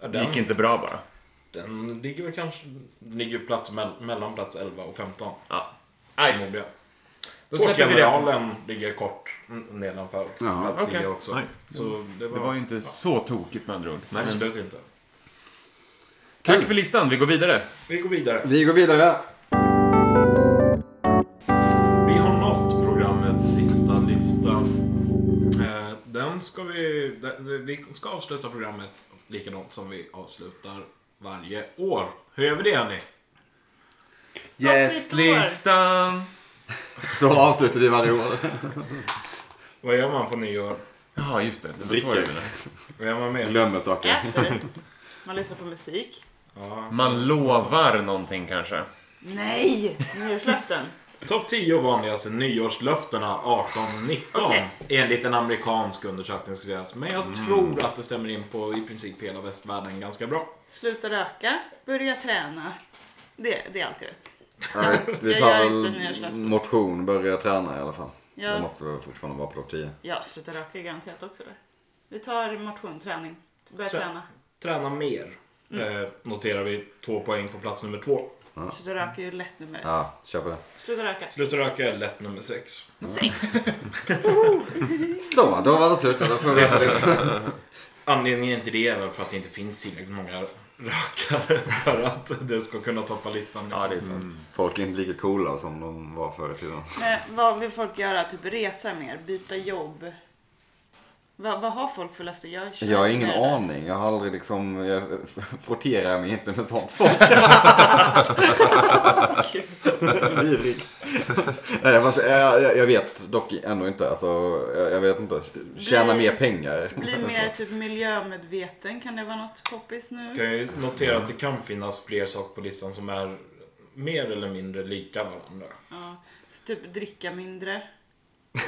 Ja,
gick
Den
inte bra bara.
Den ligger väl kanske... Den ligger ju plats mell- mellan plats 11 och 15.
Ja.
förmodligen.
Right. Då släpper vi det.
Tårtgeneralen ligger kort n- nedanför.
Ja,
plats
okej.
10 också.
Nej.
Så det var,
Det var ju inte så tokigt med andra ord.
Nej, absolut inte.
Mm. Tack för listan, vi går vidare.
Vi går vidare.
Vi går vidare.
Vi har nått programmets sista lista. Eh, Den ska vi... den- Vi ska avsluta programmet likadant som vi avslutar varje år. Hur gör vi det, hörni?
Gästlistan.
Så avslutar vi varje år.
Vad gör man på nyår?
Ja, just det. Det var så
Dricker.
jag menade.
Vad gör man mer?
Glömmer saker.
Äter. Man lyssnar på musik.
Ja.
Man lovar någonting kanske.
Nej! Nyårslöften.
Topp 10 vanligaste nyårslöftena 1819
Okej.
enligt en amerikansk undersökning ska sägas. Men jag tror att det stämmer in på i princip hela västvärlden ganska bra.
Sluta röka. Börja träna. Det, det är allt jag vet.
Alright, vi
Jag
tar
gör inte
väl
nyårslöften.
motion, börja träna i alla fall.
Ja.
Det måste väl fortfarande vara på topp 10.
Ja, sluta röka är garanterat också det. Vi tar motion, träning. Börja
Trä-
träna.
Träna mer. Eh, noterar vi två poäng på plats nummer två.
Sluta röka är ju lätt nummer ett.
Ja, kör på det.
Sluta röka.
Sluta röka är lätt nummer sex.
Sex.
Så, då var det slut. Då får vi veta det.
Anledningen till det är väl för att det inte finns tillräckligt många rökare för att det ska kunna toppa listan. liksom.
sant.
Folk är inte lika coola som de var förr i tiden.
Men vad vill folk göra? Typ resa mer? Byta jobb? Vad, vad har folk för löften? Jag, kör
Jag har ingen
inte det.
aning. Jag har aldrig liksom... Jag frotterar mig inte med sånt folk. Vidrig. Nej, jag, bara säger- jag, jag- jag vet dock ändå inte. Alltså, jag, jag vet inte. Tjäna mer pengar.
Bli mer typ miljömedveten. Kan det vara något poppis nu?
kan ju notera att det kan finnas fler saker på listan som är mer eller mindre lika varandra.
Ja. Så typ dricka mindre.
Alltså,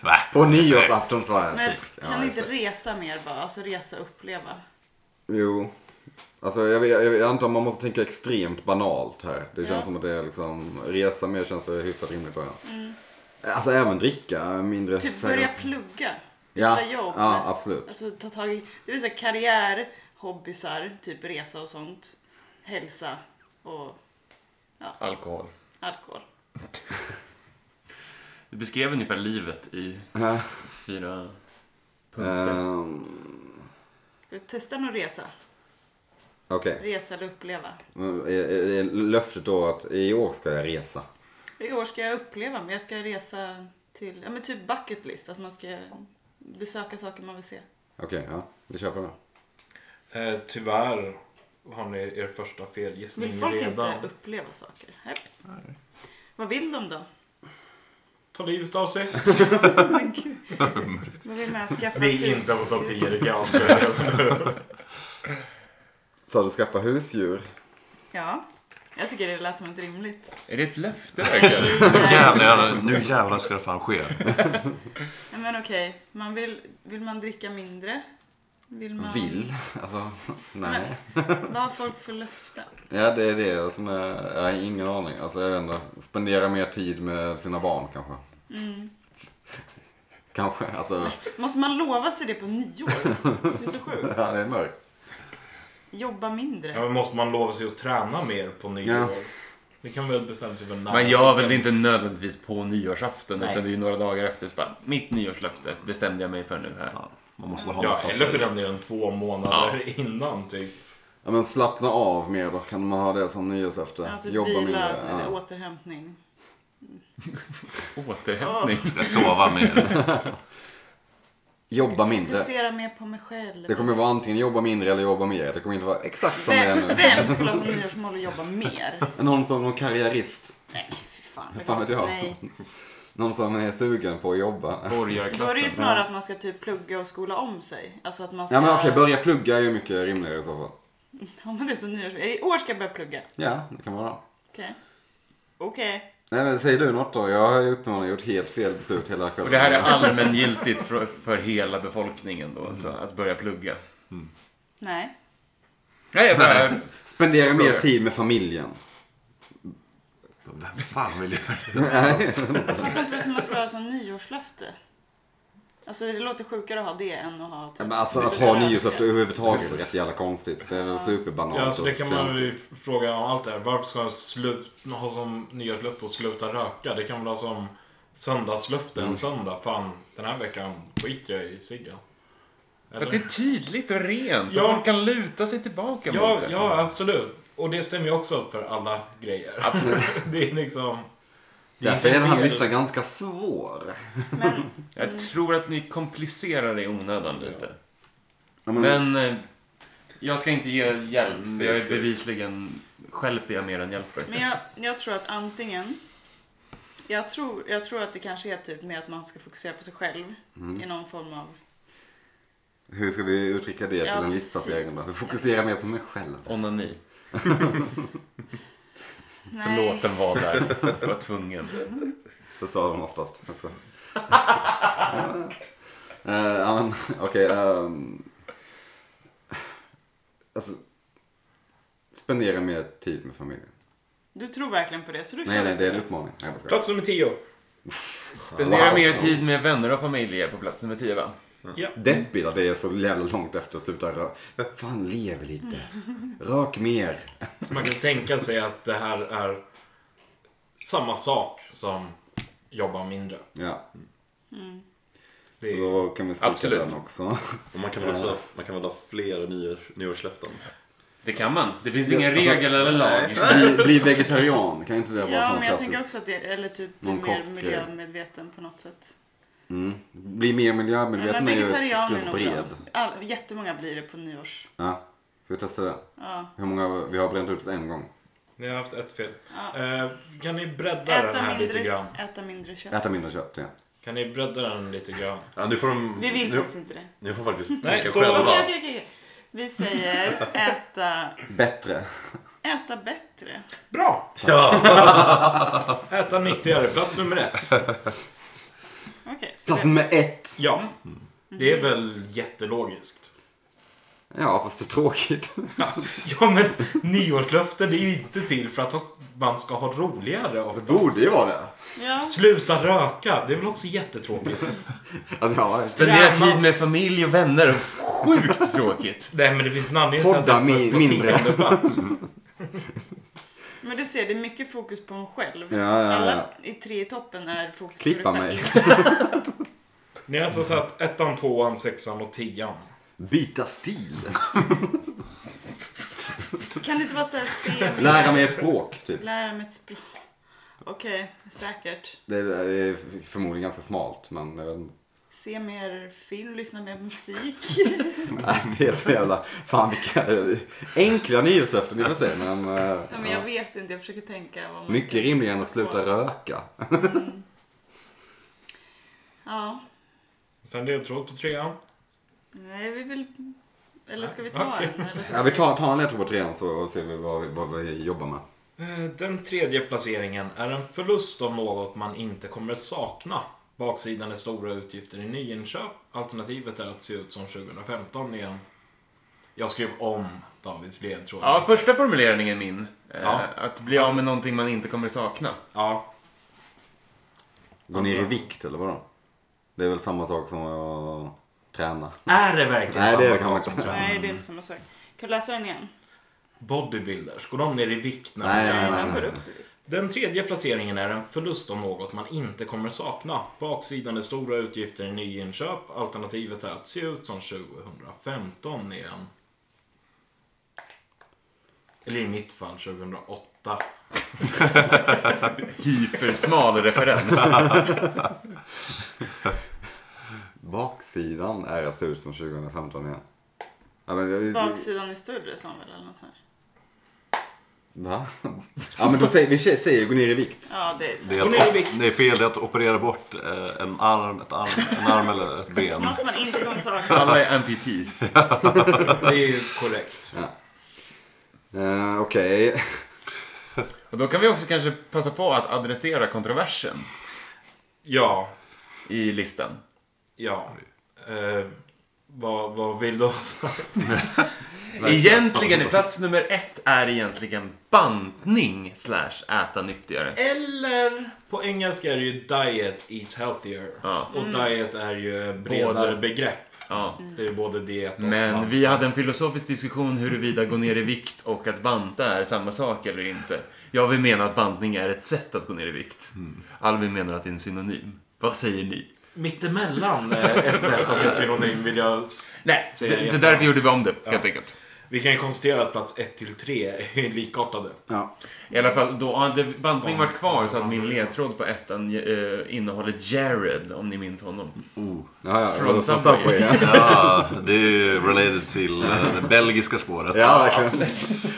Nej.
På nyårsafton så har jag
Men
slut.
kan
Ja,
inte
exakt.
resa mer bara? Alltså resa, uppleva.
Jo. Alltså jag, vet- jag, jag antar man måste tänka extremt banalt här. Det känns som att det är liksom, resa mer känns för hyfsat rimligt början. Alltså även dricka mindre.
Mm. Typ
säkert.
börja plugga.
ja.
byta jobb.
Ja, absolut.
Alltså ta tag i, det vill säga karriär, hobbysar, typ resa och sånt. Hälsa och
Alkohol.
alkohol.
Du beskrev ungefär livet i
Ja.
fyra punkter.
Ehm,
Ska vi testa någon resa?
Okej,
Resa eller uppleva?
Men är- är- är löftet då att i år ska jag resa.
I år ska jag uppleva, men jag ska resa till, ja men typ bucket list, att man ska besöka saker man vill se.
Okej, ja. Vi kör på det.
Eh, tyvärr har ni er första felgissning
Vill folk
redan.
inte uppleva saker? Nej. Vad vill de då?
Ta livet av sig.
Men gud. Vad vill man skaffa
Det
ett
är
hus?
inte på topp 10, det kan jag avslöja.
Så du skaffa husdjur?
Ja. Jag tycker det lät som ett rimligt.
Är det ett löfte verkligen?
Jävlar, nu jävlar ska det fan ske.
Nej, Men okej, man vill, vill man dricka mindre? Vill man...
Vill? Alltså, nej.
Vad har folk för löften?
Ja, det är det som är... Jag har ingen aning. Alltså, jag vet inte. Spendera mer tid med sina barn kanske.
Mm.
Kanske, alltså.
Måste man lova sig det på nyår? Det är så sjukt.
Ja, det är mörkt.
Jobba
ja,
mindre.
men måste man lova sig att träna mer på nyår?
Ja.
Det kan väl bestämma sig för när.
Man gör väl det inte nödvändigtvis på nyårsafton
Nej.
utan det är ju några dagar efter. Så bara, mitt nyårslöfte bestämde jag mig för nu här.
Ja, man måste ha
Ja,
något att säga.
eller för den delen två månader innan typ.
Ja, men slappna av mer då. Kan man ha det som nyårslöfte?
Ja, typ
Jobba
vila,
mindre.
eller
Ja.
återhämtning.
Återhämtning.
Jag sova mer.
Jobba mindre.
Fokusera mer på mig själv.
Det kommer vara antingen jobba mindre eller jobba mer. Det kommer inte vara exakt som det är
vem,
nu.
vem skulle ha som nyårsmål att jobba mer?
Någon som någon karriärist.
Nej, fy fan.
Fan vet jag.
Nej.
Någon som är sugen på att jobba.
Då är det ju
Borgarklassen.
snarare att man ska typ plugga och skola om sig. Alltså att man ska...
Ja men okej, börja plugga är ju mycket rimligare i så fall.
Ja, men det är så nyårs... I år ska jag börja plugga.
Ja, det kan vara.
Okej. Okej.
Nej men säger du något då? Jag har ju uppenbarligen gjort helt fel beslut hela
Och
kvällen.
det här är allmängiltigt för, för hela befolkningen då, alltså, att börja plugga.
Nej.
Nej, jag bara...
Spendera mer
Fråga.
tid med familjen.
Vem fan vill göra det?
Jag fattar inte varför man ska ha som nyårslöfte. Alltså det låter sjukare att ha det än att ha typ...
Men alltså att ha nyårsafton överhuvudtaget är rätt jävla konstigt. Det är väl superbanalt.
Ja, alltså det kan man
och
ju fråga om allt det här. Varför ska man slut, ha som nyårslöfte att sluta röka? Det kan man ha som söndagslöfte
Mm.
en söndag. Fan, den här veckan skiter jag i ciggen.
För att det är tydligt och rent.
Ja.
Och folk kan luta sig tillbaka
Ja,
mot det.
ja, absolut. Och det stämmer ju också för alla grejer. det är liksom... det
Därför är den här
del-
listan ganska svår.
Men
Jag tror att ni komplicerar det i onödan lite.
Ja, men,
Men Mm, eh, jag ska inte ge hjälp, för jag
det
är
ska du.
bevisligen stjälper jag mer än hjälper.
Men jag, jag tror att antingen jag tror, jag tror att det kanske är typ med att man ska fokusera på sig själv
Mm.
i någon form av...
Hur ska vi uttrycka det till
Ja,
en listplacering då?
precis.
Fokusera mer på mig själv.
Onani.
Nej.
Förlåt, den var där. Jag var tvungen.
Det sa de oftast också. Eh, ja, men, Okej. ehm, alltså, spendera mer tid med familjen.
Du tror verkligen på det, så du
Nej,
kör
nej,
inte
det är en uppmaning. Nej, jag skojar.
Plats nummer 10.
Spendera
Wow.
mer tid med vänner och familj är på plats nummer 10 va?
Ja.
Deppigt att det är så jävla långt efter att sluta röka. Fan, lev lite. Rök mer.
Man kan tänka sig att det här är samma sak som jobba mindre.
Ja, Mm.
Det
så
är,
då kan vi stryka
Absolut.
den också.
Och man kan väl också, man kan väl ha fler nyår, nyårslöften?
Det kan man. Det finns ingen
Alltså,
regel eller lag.
Bli, bli vegetarian, kan inte det vara
Ja,
sån
men jag tänker
klassisk?
också att det, eller typ bli
Någon
mer
kostgrej.
miljömedveten på något sätt.
Mm. Bli mer
Nej, men
miljömedveten är ju ett
vegetarian är
stort
nog bra.
bred.
All, jättemånga blir det på nyårs.
Ja, ska vi testa det?
Ja.
Hur många vi har bränt ut en gång?
ni har haft ett fel.
Ja.
Eh, kan ni bredda den
Äta,
här lite
mindre,
grann?
äta mindre kött.
Äta mindre kött, ja.
Kan ni bredda den lite grann?
Ja, nu får de...
Vi vill
nu,
faktiskt inte det.
nu får faktiskt
Nej,
tänka
då-
Okej,
själva.
okej, okej. Vi säger äta,
Bättre.
äta bättre.
Bra!
Ja,
Äta nyttigare. Plats nummer ett.
Okej, så
Plats nummer ett.
Ja. Det är väl jättelogiskt.
Ja, fast det är tråkigt.
Ja men nyårslöften är inte till för att man ska ha roligare
Det
oftast.
borde ju vara det.
det, ja.
Sluta röka, det är väl också jättetråkigt.
Alltså, ja,
Spendera
Ja, man-
tid med familj och vänner. Sjukt tråkigt.
Nej men det finns en anledning till att
Podda
den förs
mi-
på
mindre.
tionde plats.
Men du ser, det är mycket fokus på en själv.
Ja, ja, ja.
Alla i tre i toppen är fokus
klippa
på dig själv.
mig.
Ni har alltså satt ettan, tvåan, sexan och tian.
Byta stil.
Kan det inte bara säga se?
Lära mig ett språk, typ.
Lära mig ett språk. Okej, säkert.
Det är- det är förmodligen ganska smalt, men jag vet inte.
Se mer film, lyssna mer musik.
Nej, Det är så jävla... Fan vilka enkla nyårslöften i och för sig. Men, eh,
Nej, men jag vet inte, jag försöker tänka vad man
mycket
kan
rimligare än att
hitta
sluta
på.
röka.
Ja.
Sen ledtråd på trean.
Nej, vi vill... Eller ska vi ta
Okej.
den? Eller ska
Ja, vi tar, tar en ledtråd på trean så och ser vi vad, vi vad vi jobbar med.
Eh, Den tredje placeringen är en förlust av något man inte kommer sakna. Baksidan är stora utgifter i nyinköp. Alternativet är att se ut som 2015 igen. Jag skrev om Davids ledtråd.
Ja, första formuleringen är min. Eh,
Ja.
Att bli av med någonting man inte kommer sakna.
Ja,
Gå ner i vikt eller vadå? Det är väl samma sak som att eh, träna.
Är det verkligen
Nej,
samma
det kan man
sak
inte.
som träning?
Nej, det är inte samma sak. Kan du läsa den igen?
Bodybuilders, går de ner i vikt när de
Nej,
tränar?
nej, nej.
Den går
nej.
upp.
Den tredje placeringen är en förlust av något man inte kommer sakna. Baksidan är stora utgifter i nyinköp. Alternativet är att se ut som 2015 igen. Eller i mitt fall 2008.
Hypersmal referens.
Baksidan är att se ut som 2015 igen. Ja, men, jag-
Baksidan är större, sa han väl? Eller något sånt.
Va? Ja men då säger vi säger gå ner i vikt.
Ja, det är så.
det, är
Och nu är det
att,
vikt.
op- det är fel det är att operera bort eh, en arm, ett arm, en arm eller ett ben.
Något man inte kommer sakna.
Alla är amputees.
Det är ju korrekt.
Eh, Okej.
Och då kan vi också kanske passa på att adressera kontroversen
Ja,
i listan.
ja. Eh, vad, vad vill du ha sagt?
Egentligen är plats nummer ett är egentligen bantning slash äta nyttigare.
Eller på engelska är det ju diet, eat healthier.
Ja. Mm.
Och diet är ju ett bredare
Både.
begrepp.
Ja.
Det är ju både diet och
Men
mat.
vi hade en filosofisk diskussion huruvida gå ner i vikt och att banta är samma sak eller inte. Jag vill mena att bantning är ett sätt att gå ner i vikt. Alvin menar att det är en synonym. Vad säger ni?
Mittemellan är ett sätt och ett synonym vill jag... s-
Nej,
säger jag
det, det är
jättebra.
därför gjorde vi om det, helt enkelt.
Vi kan ju konstatera att plats 1 till 3 är likartade.
Ja.
I alla fall, då hade bantning varit kvar så att min ledtråd på ettan eh, innehåller Jared, om ni minns honom.
Oh. Ja, ja.
Från
Från
Subway.
Subway. ja.
Ja, det är ju related till eh, det belgiska spåret.
Ja, verkligen.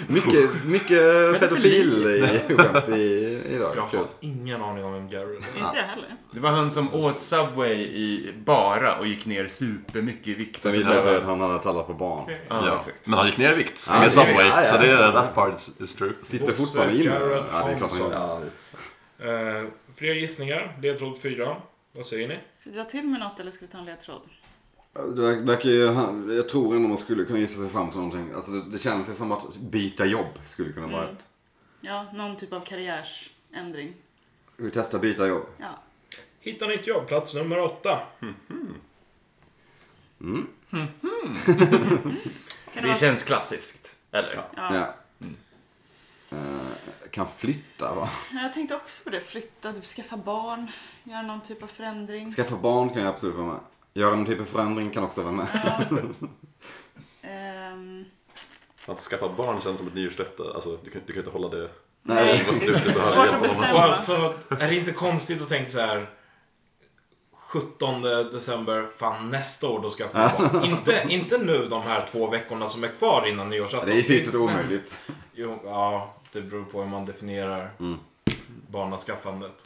Mycket, mycket pedofil i skämt i, idag.
Jag
Kul.
har ingen aning om vem Jared är.
Inte jag heller.
Det var han som åt Subway i bara och gick ner supermycket i vikt.
Sen visade det sig att han hade tallat på barn.
Ja,
Ja,
exakt.
men han gick ner i vikt
Ja, det-
med Subway,
ja, ja,
så det
ja.
är, that part is, is true.
Sitter
Bosse,
fortfarande inne.
Jared
Ja, det är klart han
Hansson.
gör.
Eh, fler gissningar, ledtråd 4. Vad säger ni?
Ska vi dra till med något eller ska vi ta en ledtråd?
Det verk- verkar ju, han- jag tror ändå man skulle kunna gissa sig fram till någonting. Alltså det, det känns ju som att byta jobb skulle kunna
Mm.
vara ett.
Ja, någon typ av karriärsändring.
Vi testar byta jobb.
Ja.
Hitta nytt jobb, plats nummer 8.
Kan det
Det
vara...
känns klassiskt. Eller?
Ja.
Ja.
Mm.
Eh, kan flytta va?
Jag tänkte också på det. Flytta, typ skaffa barn, göra någon typ av förändring.
Skaffa barn kan jag absolut vara med. Göra någon typ av förändring kan också vara med.
Ja. Ehm,
Att skaffa barn känns som ett nyårslöfte. Alltså, du, kan, du kan inte hålla det.
nej,
vad
det är
du
svårt
behöver hjälpa
att
honom.
Och
bestämma.
alltså, är det inte konstigt att tänka så här 17 december, fan nästa år då ska jag få barn. inte, inte nu de här två veckorna som är kvar innan nyårsafton.
Det är fysiskt omöjligt.
Jo, ja, det beror på hur man definierar
Mm.
barnaskaffandet.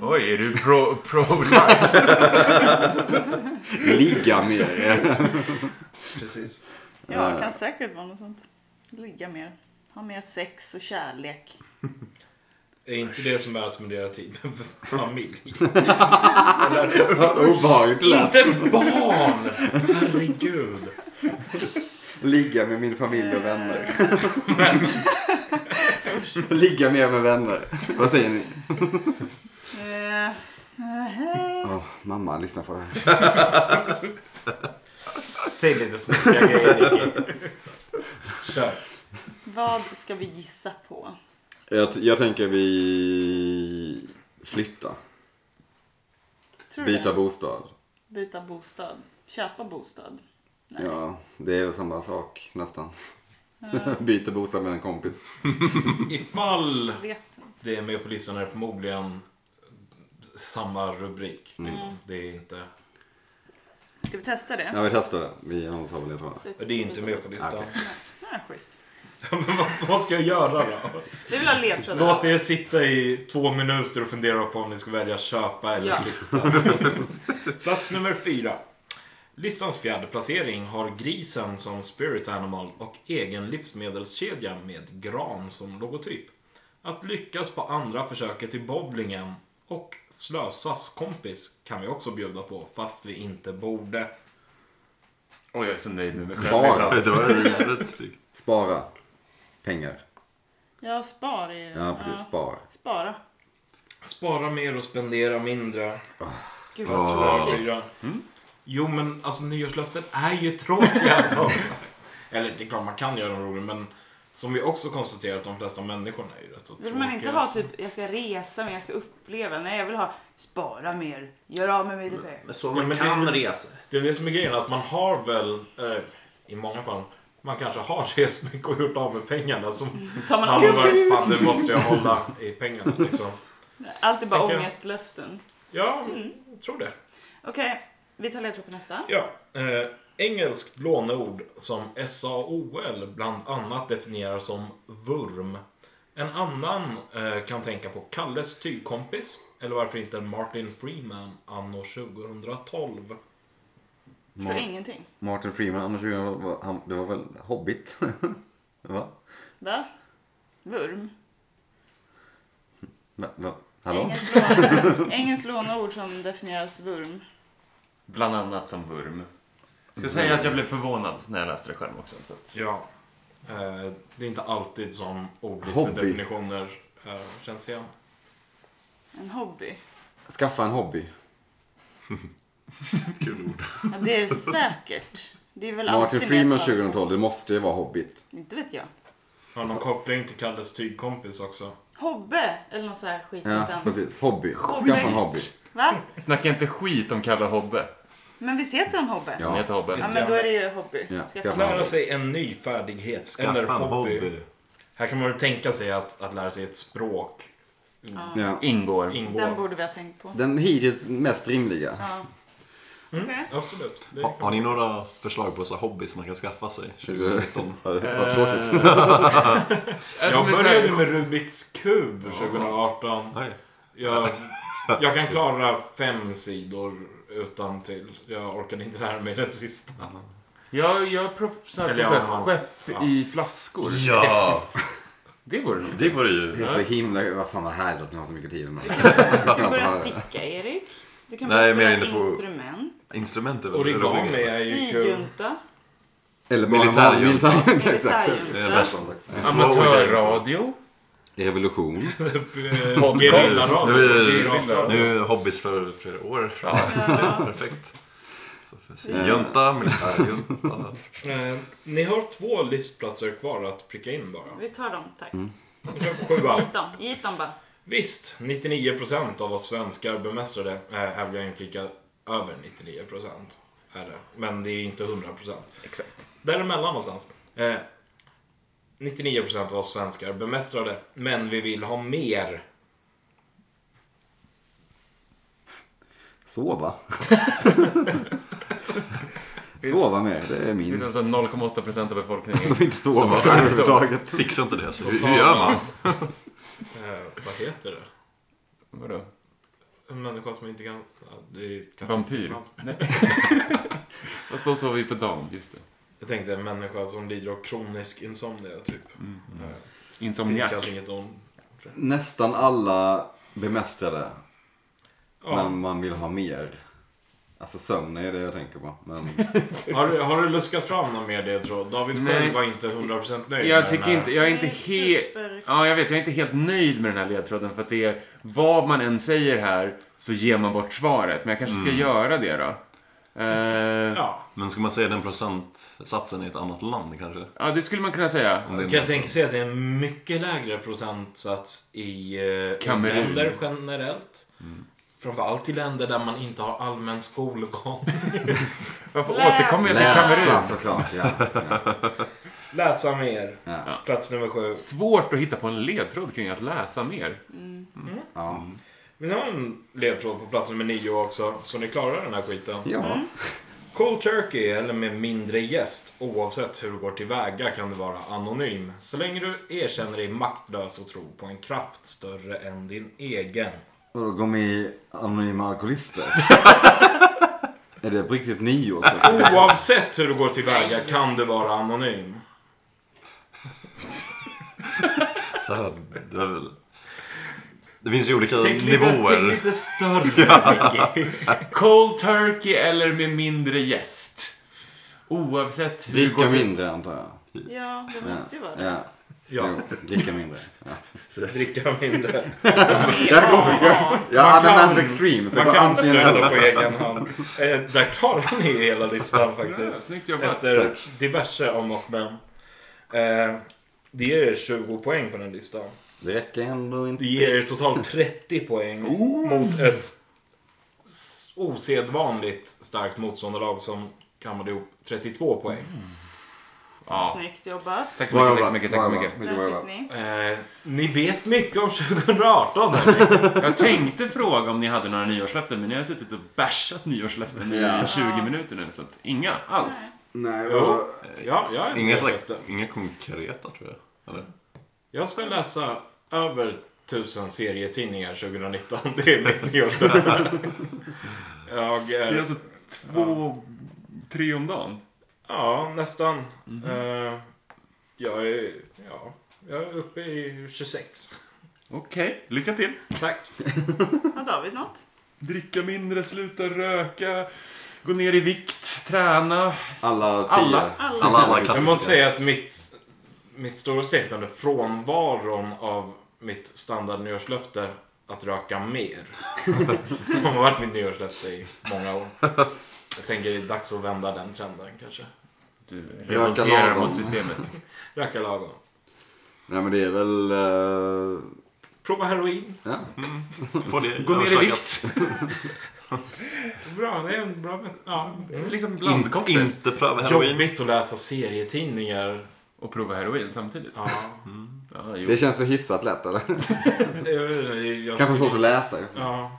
Oj, är du pro, pro-life?
Ligga mer.
Precis.
Ja,
Eh.
kan säkert vara något sånt. Ligga mer. Ha mer sex och kärlek.
Är inte det som är att spendera tid med familj?
Obehagligt lätt.
inte barn! Herregud.
Ligga med min familj och vänner. Ligga mer med vänner. Vad säger ni?
Eh, eh,
Åh, mamma, lyssna på det här.
Säg lite snuskiga grejer, Nicky. Kör.
vad ska vi gissa på?
Jag, jag tänker vi flytta.
Tror du
Byta
det?
bostad.
Byta bostad. Köpa bostad. Nej.
Ja, det är väl samma sak nästan. Byter bostad med en kompis.
Ifall
Vet inte.
det är med på listan är det förmodligen samma rubrik. Liksom. Det är inte...
Ska vi testa det?
Ja, vi testar det. Vi annars har väl ledtrådar.
Byta-
Det är inte
byta
med på
bostad.
listan.
Nej, schysst.
Men vad, vad ska jag göra då?
Vi vill ha ledtrådar.
Låt er sitta i två minuter och fundera på om ni ska välja köpa eller
Ja.
flytta. Plats nummer fyra. Listans fjärde placering har grisen som spirit animal och egen livsmedelskedja med gran som logotyp. Att lyckas på andra försöket i bowlingen och slösas kompis kan vi också bjuda på fast vi inte borde.
Oj, jag är så nöjd nu med
Spara.
Det var rätt snyggt.
Spara. Pengar.
Ja, spar är ju...
Ja, precis. Spar.
Spara.
Spara mer och spendera mindre.
Gud, vad
Plats
Ah.
nummer fyra. Jo men alltså nyårslöften är ju tråkiga alltså. Eller det är klart man kan göra dem roliga men som vi också konstaterar att de flesta människorna är ju rätt så tråkiga.
Vill man inte ha typ, jag ska resa mer, jag ska uppleva. Nej, jag vill ha spara mer, gör av med mina pengar.
Så
Ja,
man
men
kan
det-
resa.
Det är det som är grejen att man har väl, eh, i många fall, man kanske har rest mycket och gjort av med pengarna som
Som man
man har varit,
ångest.
fan det måste jag hålla i pengarna liksom.
Allt är bara
Tänker jag.
ångestlöften.
Ja, jag tror det.
Okej, vi tar ledtråd på nästa.
Ja, eh, engelskt låneord som SAOL bland annat definierar som vurm. En annan eh, kan tänka på Kalles tygkompis, eller varför inte Martin Freeman anno 2012.
För
Ma-
ingenting.
Martin Freeman, annars var han, det var väl Hobbit? Va?
Va? Vurm?
Va? Va? Hallå?
Engelskt låne- Engelskt låneord som definieras vurm.
Bland annat som vurm. Ska säga att jag blev förvånad när jag läste det själv också. Så att...
Ja. Eh, det är inte alltid som
Hobby.
ordlistedefinitioner eh, känns igen.
En hobby.
Skaffa en hobby.
Kul ord.
Ja, det är det säkert. Det är väl
Martin
alltid
Freeman
med på-
2012, det måste ju vara Hobbit.
Inte vet jag.
Har
Alltså-
någon koppling till Kalles tygkompis också?
Hobbe eller något sånt här skit.
Ja,
utan-
precis. Hobby. Skaffa en hobby.
Va?
Snacka inte skit om Kalle Hobbe.
Men visst heter han Hobbe?
Han
Ja.
heter Hobbe.
Ja, men då är det ju hobby.
Ja,
Ska
skaffa
jag-
en
Lära
hobby.
sig en ny färdighet eller
Skaffa en
hobby.
hobby.
Här kan man väl tänka sig att, att lära sig ett språk
Ja.
Ingår.
Den
ingår.
borde vi ha tänkt på.
Den hittills mest rimliga.
Ja.
Mm.
Okej.
Absolut. Det
Ha,
kan-
har ni några förslag på så här hobby som man kan skaffa sig? 2019?
Ja, det var tråkigt.
Alltså,
Jag
men så
började
här,
med Rubiks kub 2018.
Nej.
Jag, jag kan klara fem sidor utan till. Jag orkade inte lära mig den sista.
jag jag proffsar på
Eller
så
ja,
här, skepp
ja.
i flaskor.
Ja!
Det vore nog.
Det var det ju.
Det är så himla... Vad fan vad härligt att ni har så mycket tid med det.
Du kan börja sticka Erik. Du kan börja
Nej, men jag är
spela
inne på-
instrument.
Instrument är väl
Origami
roligare.
är ju kul.
Syjunta.
Eller bara en
Militärjunta.
vanlig militärjunta. Exakt.
Det är
Militärjunta.
bäst.
Amatörradio.
Revolution.
Gerillarad.
Nu är-
Gerillarad.
Nu är hobbys för flera år. Perfekt. Så för Snigjunta, militärjunta.
Eh, Ni har två listplatser kvar att pricka in bara.
Vi tar dem,
Mm.
tack.
Sjua.
Hit dem, hit dem bara.
Visst, 99% av oss svenskar bemästrade. Eh, Här vill jag inflika över 99% är det. Men det är inte 100%.
Exakt.
Däremellan någonstans. Eh, 99% av oss svenskar bemästrade, men vi vill ha mer.
Sova. Sova mer. Det är
Det finns
min.
alltså 0,8% av befolkningen.
Som inte sover överhuvudtaget.
Fixa inte det. alltså. Så.
Så
Hur
tar
hur gör man?
Eh, vad heter det?
Vadå?
En människa som inte kan... ja, Det är kanske-
Vampyr. Fast då sover vi på dagen, just det.
Jag tänkte en människa som lider av kronisk insomnia, typ. Eh, Finns
Insomniac.
kanske inget om...
Nästan alla bemästrade.
Ja.
Men man vill ha mer. Alltså sömn är det jag tänker på. Men
Har, du- har du luskat fram någon mer ledtråd? David
Nej.
själv var inte 100% nöjd
Jag
med den
tycker
här.
inte, jag är inte
Det är
helt...
super-
Ja, jag vet, jag är inte helt nöjd med den här ledtråden för att det är vad man än säger här så ger man bort svaret. Men jag kanske
Mm.
ska göra det då. Eh, ja.
Ja.
Men ska man säga den procentsatsen i ett annat land kanske?
det skulle man kunna säga.
Om det är
Kan jag
något
tänka sig att det är en mycket lägre procentsats i eh,
Kamerun. Mm.
länder generellt. Framförallt i länder där man inte har allmän skolgång.
Varför
Läs.
återkommer jag till
läsa
Kamerun?
såklart. Ja. Ja.
Läsa mer.
Ja.
Plats nummer sju.
Svårt att hitta på en ledtråd kring att läsa mer.
Ja.
Vill ni ha en ledtråd på plats nummer nio också? Så ni klarar den här skiten.
ja.
Cold turkey eller med mindre gäst, oavsett hur du går tillväga kan du vara anonym. Så länge du erkänner dig maktlös och tror på en kraft större än din egen.
Och då går med i Anonyma Alkoholister. är det på riktigt nio år sedan?
Oh, Oavsett hur du går tillväga kan du vara anonym.
Så här, det, är väl- det finns ju olika
Tänk lite, tänk
nivåer.
lite större, Nicky.
Cold turkey eller med mindre gäst? Oavsett hur
Dricka
går det-
mindre antar jag.
Ja, det
Ja.
måste ju vara det.
Ja.
Ja,
Jo, dricka mindre. Ja.
dricka mindre.
Ja.
Jag
Man
hade
kan-
Mad Extreme. Så
Man
jag
kan
antingen eller.
sluta på egen hand. Eh, där klarar ni hela listan faktiskt.
Snyggt jobbat.
Efter diverse om och men. Eh, det ger er 20 poäng på den listan.
Det räcker ändå
Det
inte.
ger er totalt 30 poäng mot ett s- osedvanligt starkt motståndarlag som kammade ihop 32 poäng.
Ja.
Snyggt jobbat.
Tack så
Bra
mycket,
jobbat,
tack så mycket, tack så
bra
mycket.
jobbat, mycket bra
Där fick ni.
jobbat.
Eh, ni vet mycket om 2018 hörni.
Jag tänkte fråga om ni hade några nyårslöften, men ni har suttit och bashat nyårslöften
Ja.
i 20 minuter nu. Så att inga alls.
Nej,
Jo, ja, jag är
Inga,
inte
slags,
efter.
inga konkreta tror jag. Eller?
Jag ska läsa över tusen serietidningar 2019. Det är mitt nyårslöfte. Jag eh,
Det är
är,
alltså två, tre om dagen.
ja, nästan. Eh, jag är, ja, jag är uppe i 26.
Okej, lycka till.
Tack.
Har David något?
Dricka mindre, sluta röka, Gå ner i vikt, träna.
Alla tio.
Alla.
Alla.
Alla, alla
Jag
klassiska.
måste säga att mitt, mitt stora statement är frånvaron av mitt standard nyårslöfte att röka mer. Som har varit mitt nyårslöfte i många år. Jag tänker det är dags att vända den trenden kanske.
Du
Röka
revolterar
lagom.
mot systemet.
Röka lagom.
Nej men det är väl... eh,
Prova heroin.
ja.
Få det
Gå ner i
överstökat.
vikt.
Bra, det är en bra... Ja.
Liksom
In,
blandcocktail.
inte pröva heroin.
Jobbigt att läsa serietidningar.
Och prova heroin samtidigt.
Ja.
Ja, jo.
Det känns så hyfsat lätt eller?
Jag vet inte, jag-
Kanske svårt att läsa.
Ja.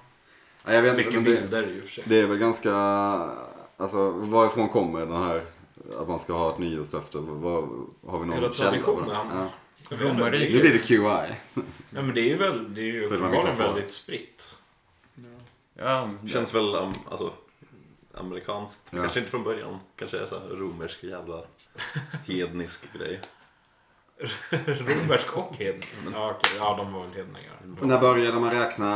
Ja, jag vet inte,
Mycket
men det-
bilder i och för sig.
Det är väl ganska, alltså varifrån kommer den här att man ska ha ett nyårslöfte? Vad, har vi
Hela
någon källa på den?
traditionen.
Ja.
Jag vet inte.
Romarriket.
Nu blir det QI.
Ja, men det är ju väl, det är ju
För det var mitt
uppenbarligen
svar.
väldigt spritt.
Ja,
Känns väl um, alltså, amerikanskt.
Ja.
Kanske inte från början. Kanske är så här romersk jävla hednisk grej.
Romersk och hedningar. Ja, okej. Ja, de var väl hedningar.
När började man räkna,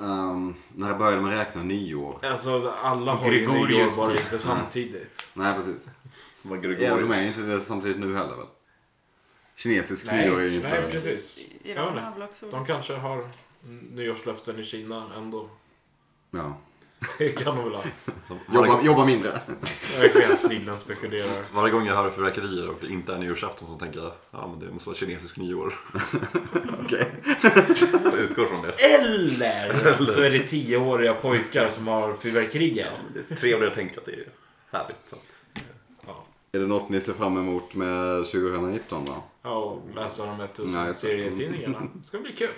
ehm, när började man räkna nyår?
Alltså, alla har ju
Gregorius
typ.
nyår bara
tid.
Mm.
inte samtidigt.
Nej precis.
Som var
Ja, de är
Gregorius.
inte det samtidigt nu heller väl? Kinesisk
Nej,
nyår är ju
nej,
inte...
precis.
Iran
Ja,
har väl också...
De kanske har nyårslöften i Kina ändå.
Ja.
Det kan de väl ha.
Som varje,
Jobba,
gång,
jobba mindre.
Verkligen snillen spekulerar.
varje gång jag hör fyrverkerier och det inte är nyårsafton så tänker jag ja men det måste vara kinesisk nyår.
Okej.
Jag utgår från det.
Eller så är det tioåriga pojkar som har
Ja,
fyrverkerier.
men det är trevligare att tänka att det är härligt. Så att,
Ja.
Är det något ni ser fram emot med 2019 då?
Ja, och läsa de här
Nej,
tusen
jag ser-
serietidningarna. Det ska bli kul.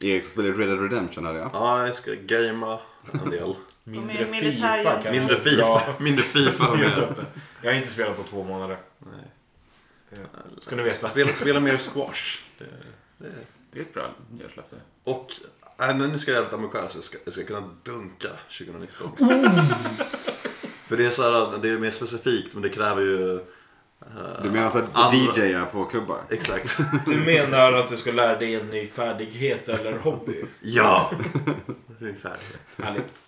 Erik ska spela Red Dead Redemption hörde jag.
ja, jag ska gamea en del.
Mindre militär-
kanske.
Mindre Fifa.
Ja,
Mindre Fifa.
jag vet
Med,
inte. Jag har inte spelat på två månader.
nej.
Ska ni veta.
Spela, spela mer squash. Det, det är
Det är ett bra nyårslöfte.
Och, nej men nu ska jag vara lite ambitiös. Jag ska, jag ska kunna dunka 2019. För det är så här, det är mer specifikt men det kräver ju... eh,
Du menar så att
andra-
DJa på klubbar?
Exakt.
Du menar att du ska lära dig en ny färdighet eller hobby?
Ja! Ungefär.
Härligt.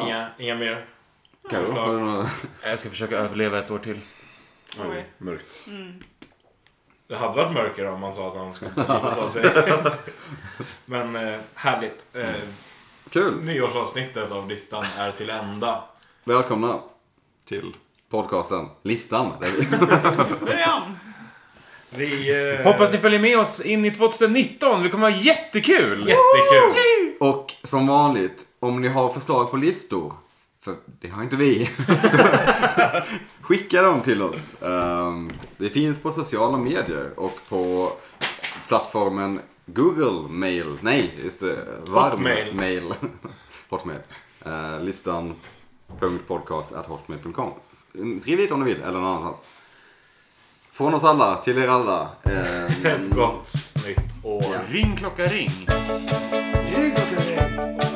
Inga, inga mer?
Carro, har du några...
Jag ska försöka överleva ett år till.
Oj.
Mörkt.
Det hade varit mörkare om man sa att han skulle ta av sig. Men eh, härligt. Eh,
Kul!
nyårsavsnittet av listan är till ända.
Välkomna!
Till.
podcasten Listan. Där vi...
Börja om.
Vi... Eh,
Hoppas ni följer med oss in i 2019. Vi kommer ha jättekul!
Jättekul.
Och som vanligt, om ni har förslag på listor, för det har inte vi, så skicka dem till oss. Ehm, det finns på sociala medier och på plattformen Google mail, nej just det, varm
Hotmail.
mail. Hotmail. Eh, listan .podcast.hotmail.com Skriv hit om ni vill, eller någon annanstans. Från oss alla, till er alla. Ehm,
Ett gott nytt år.
Ring klocka ring.
Ring klockan ring.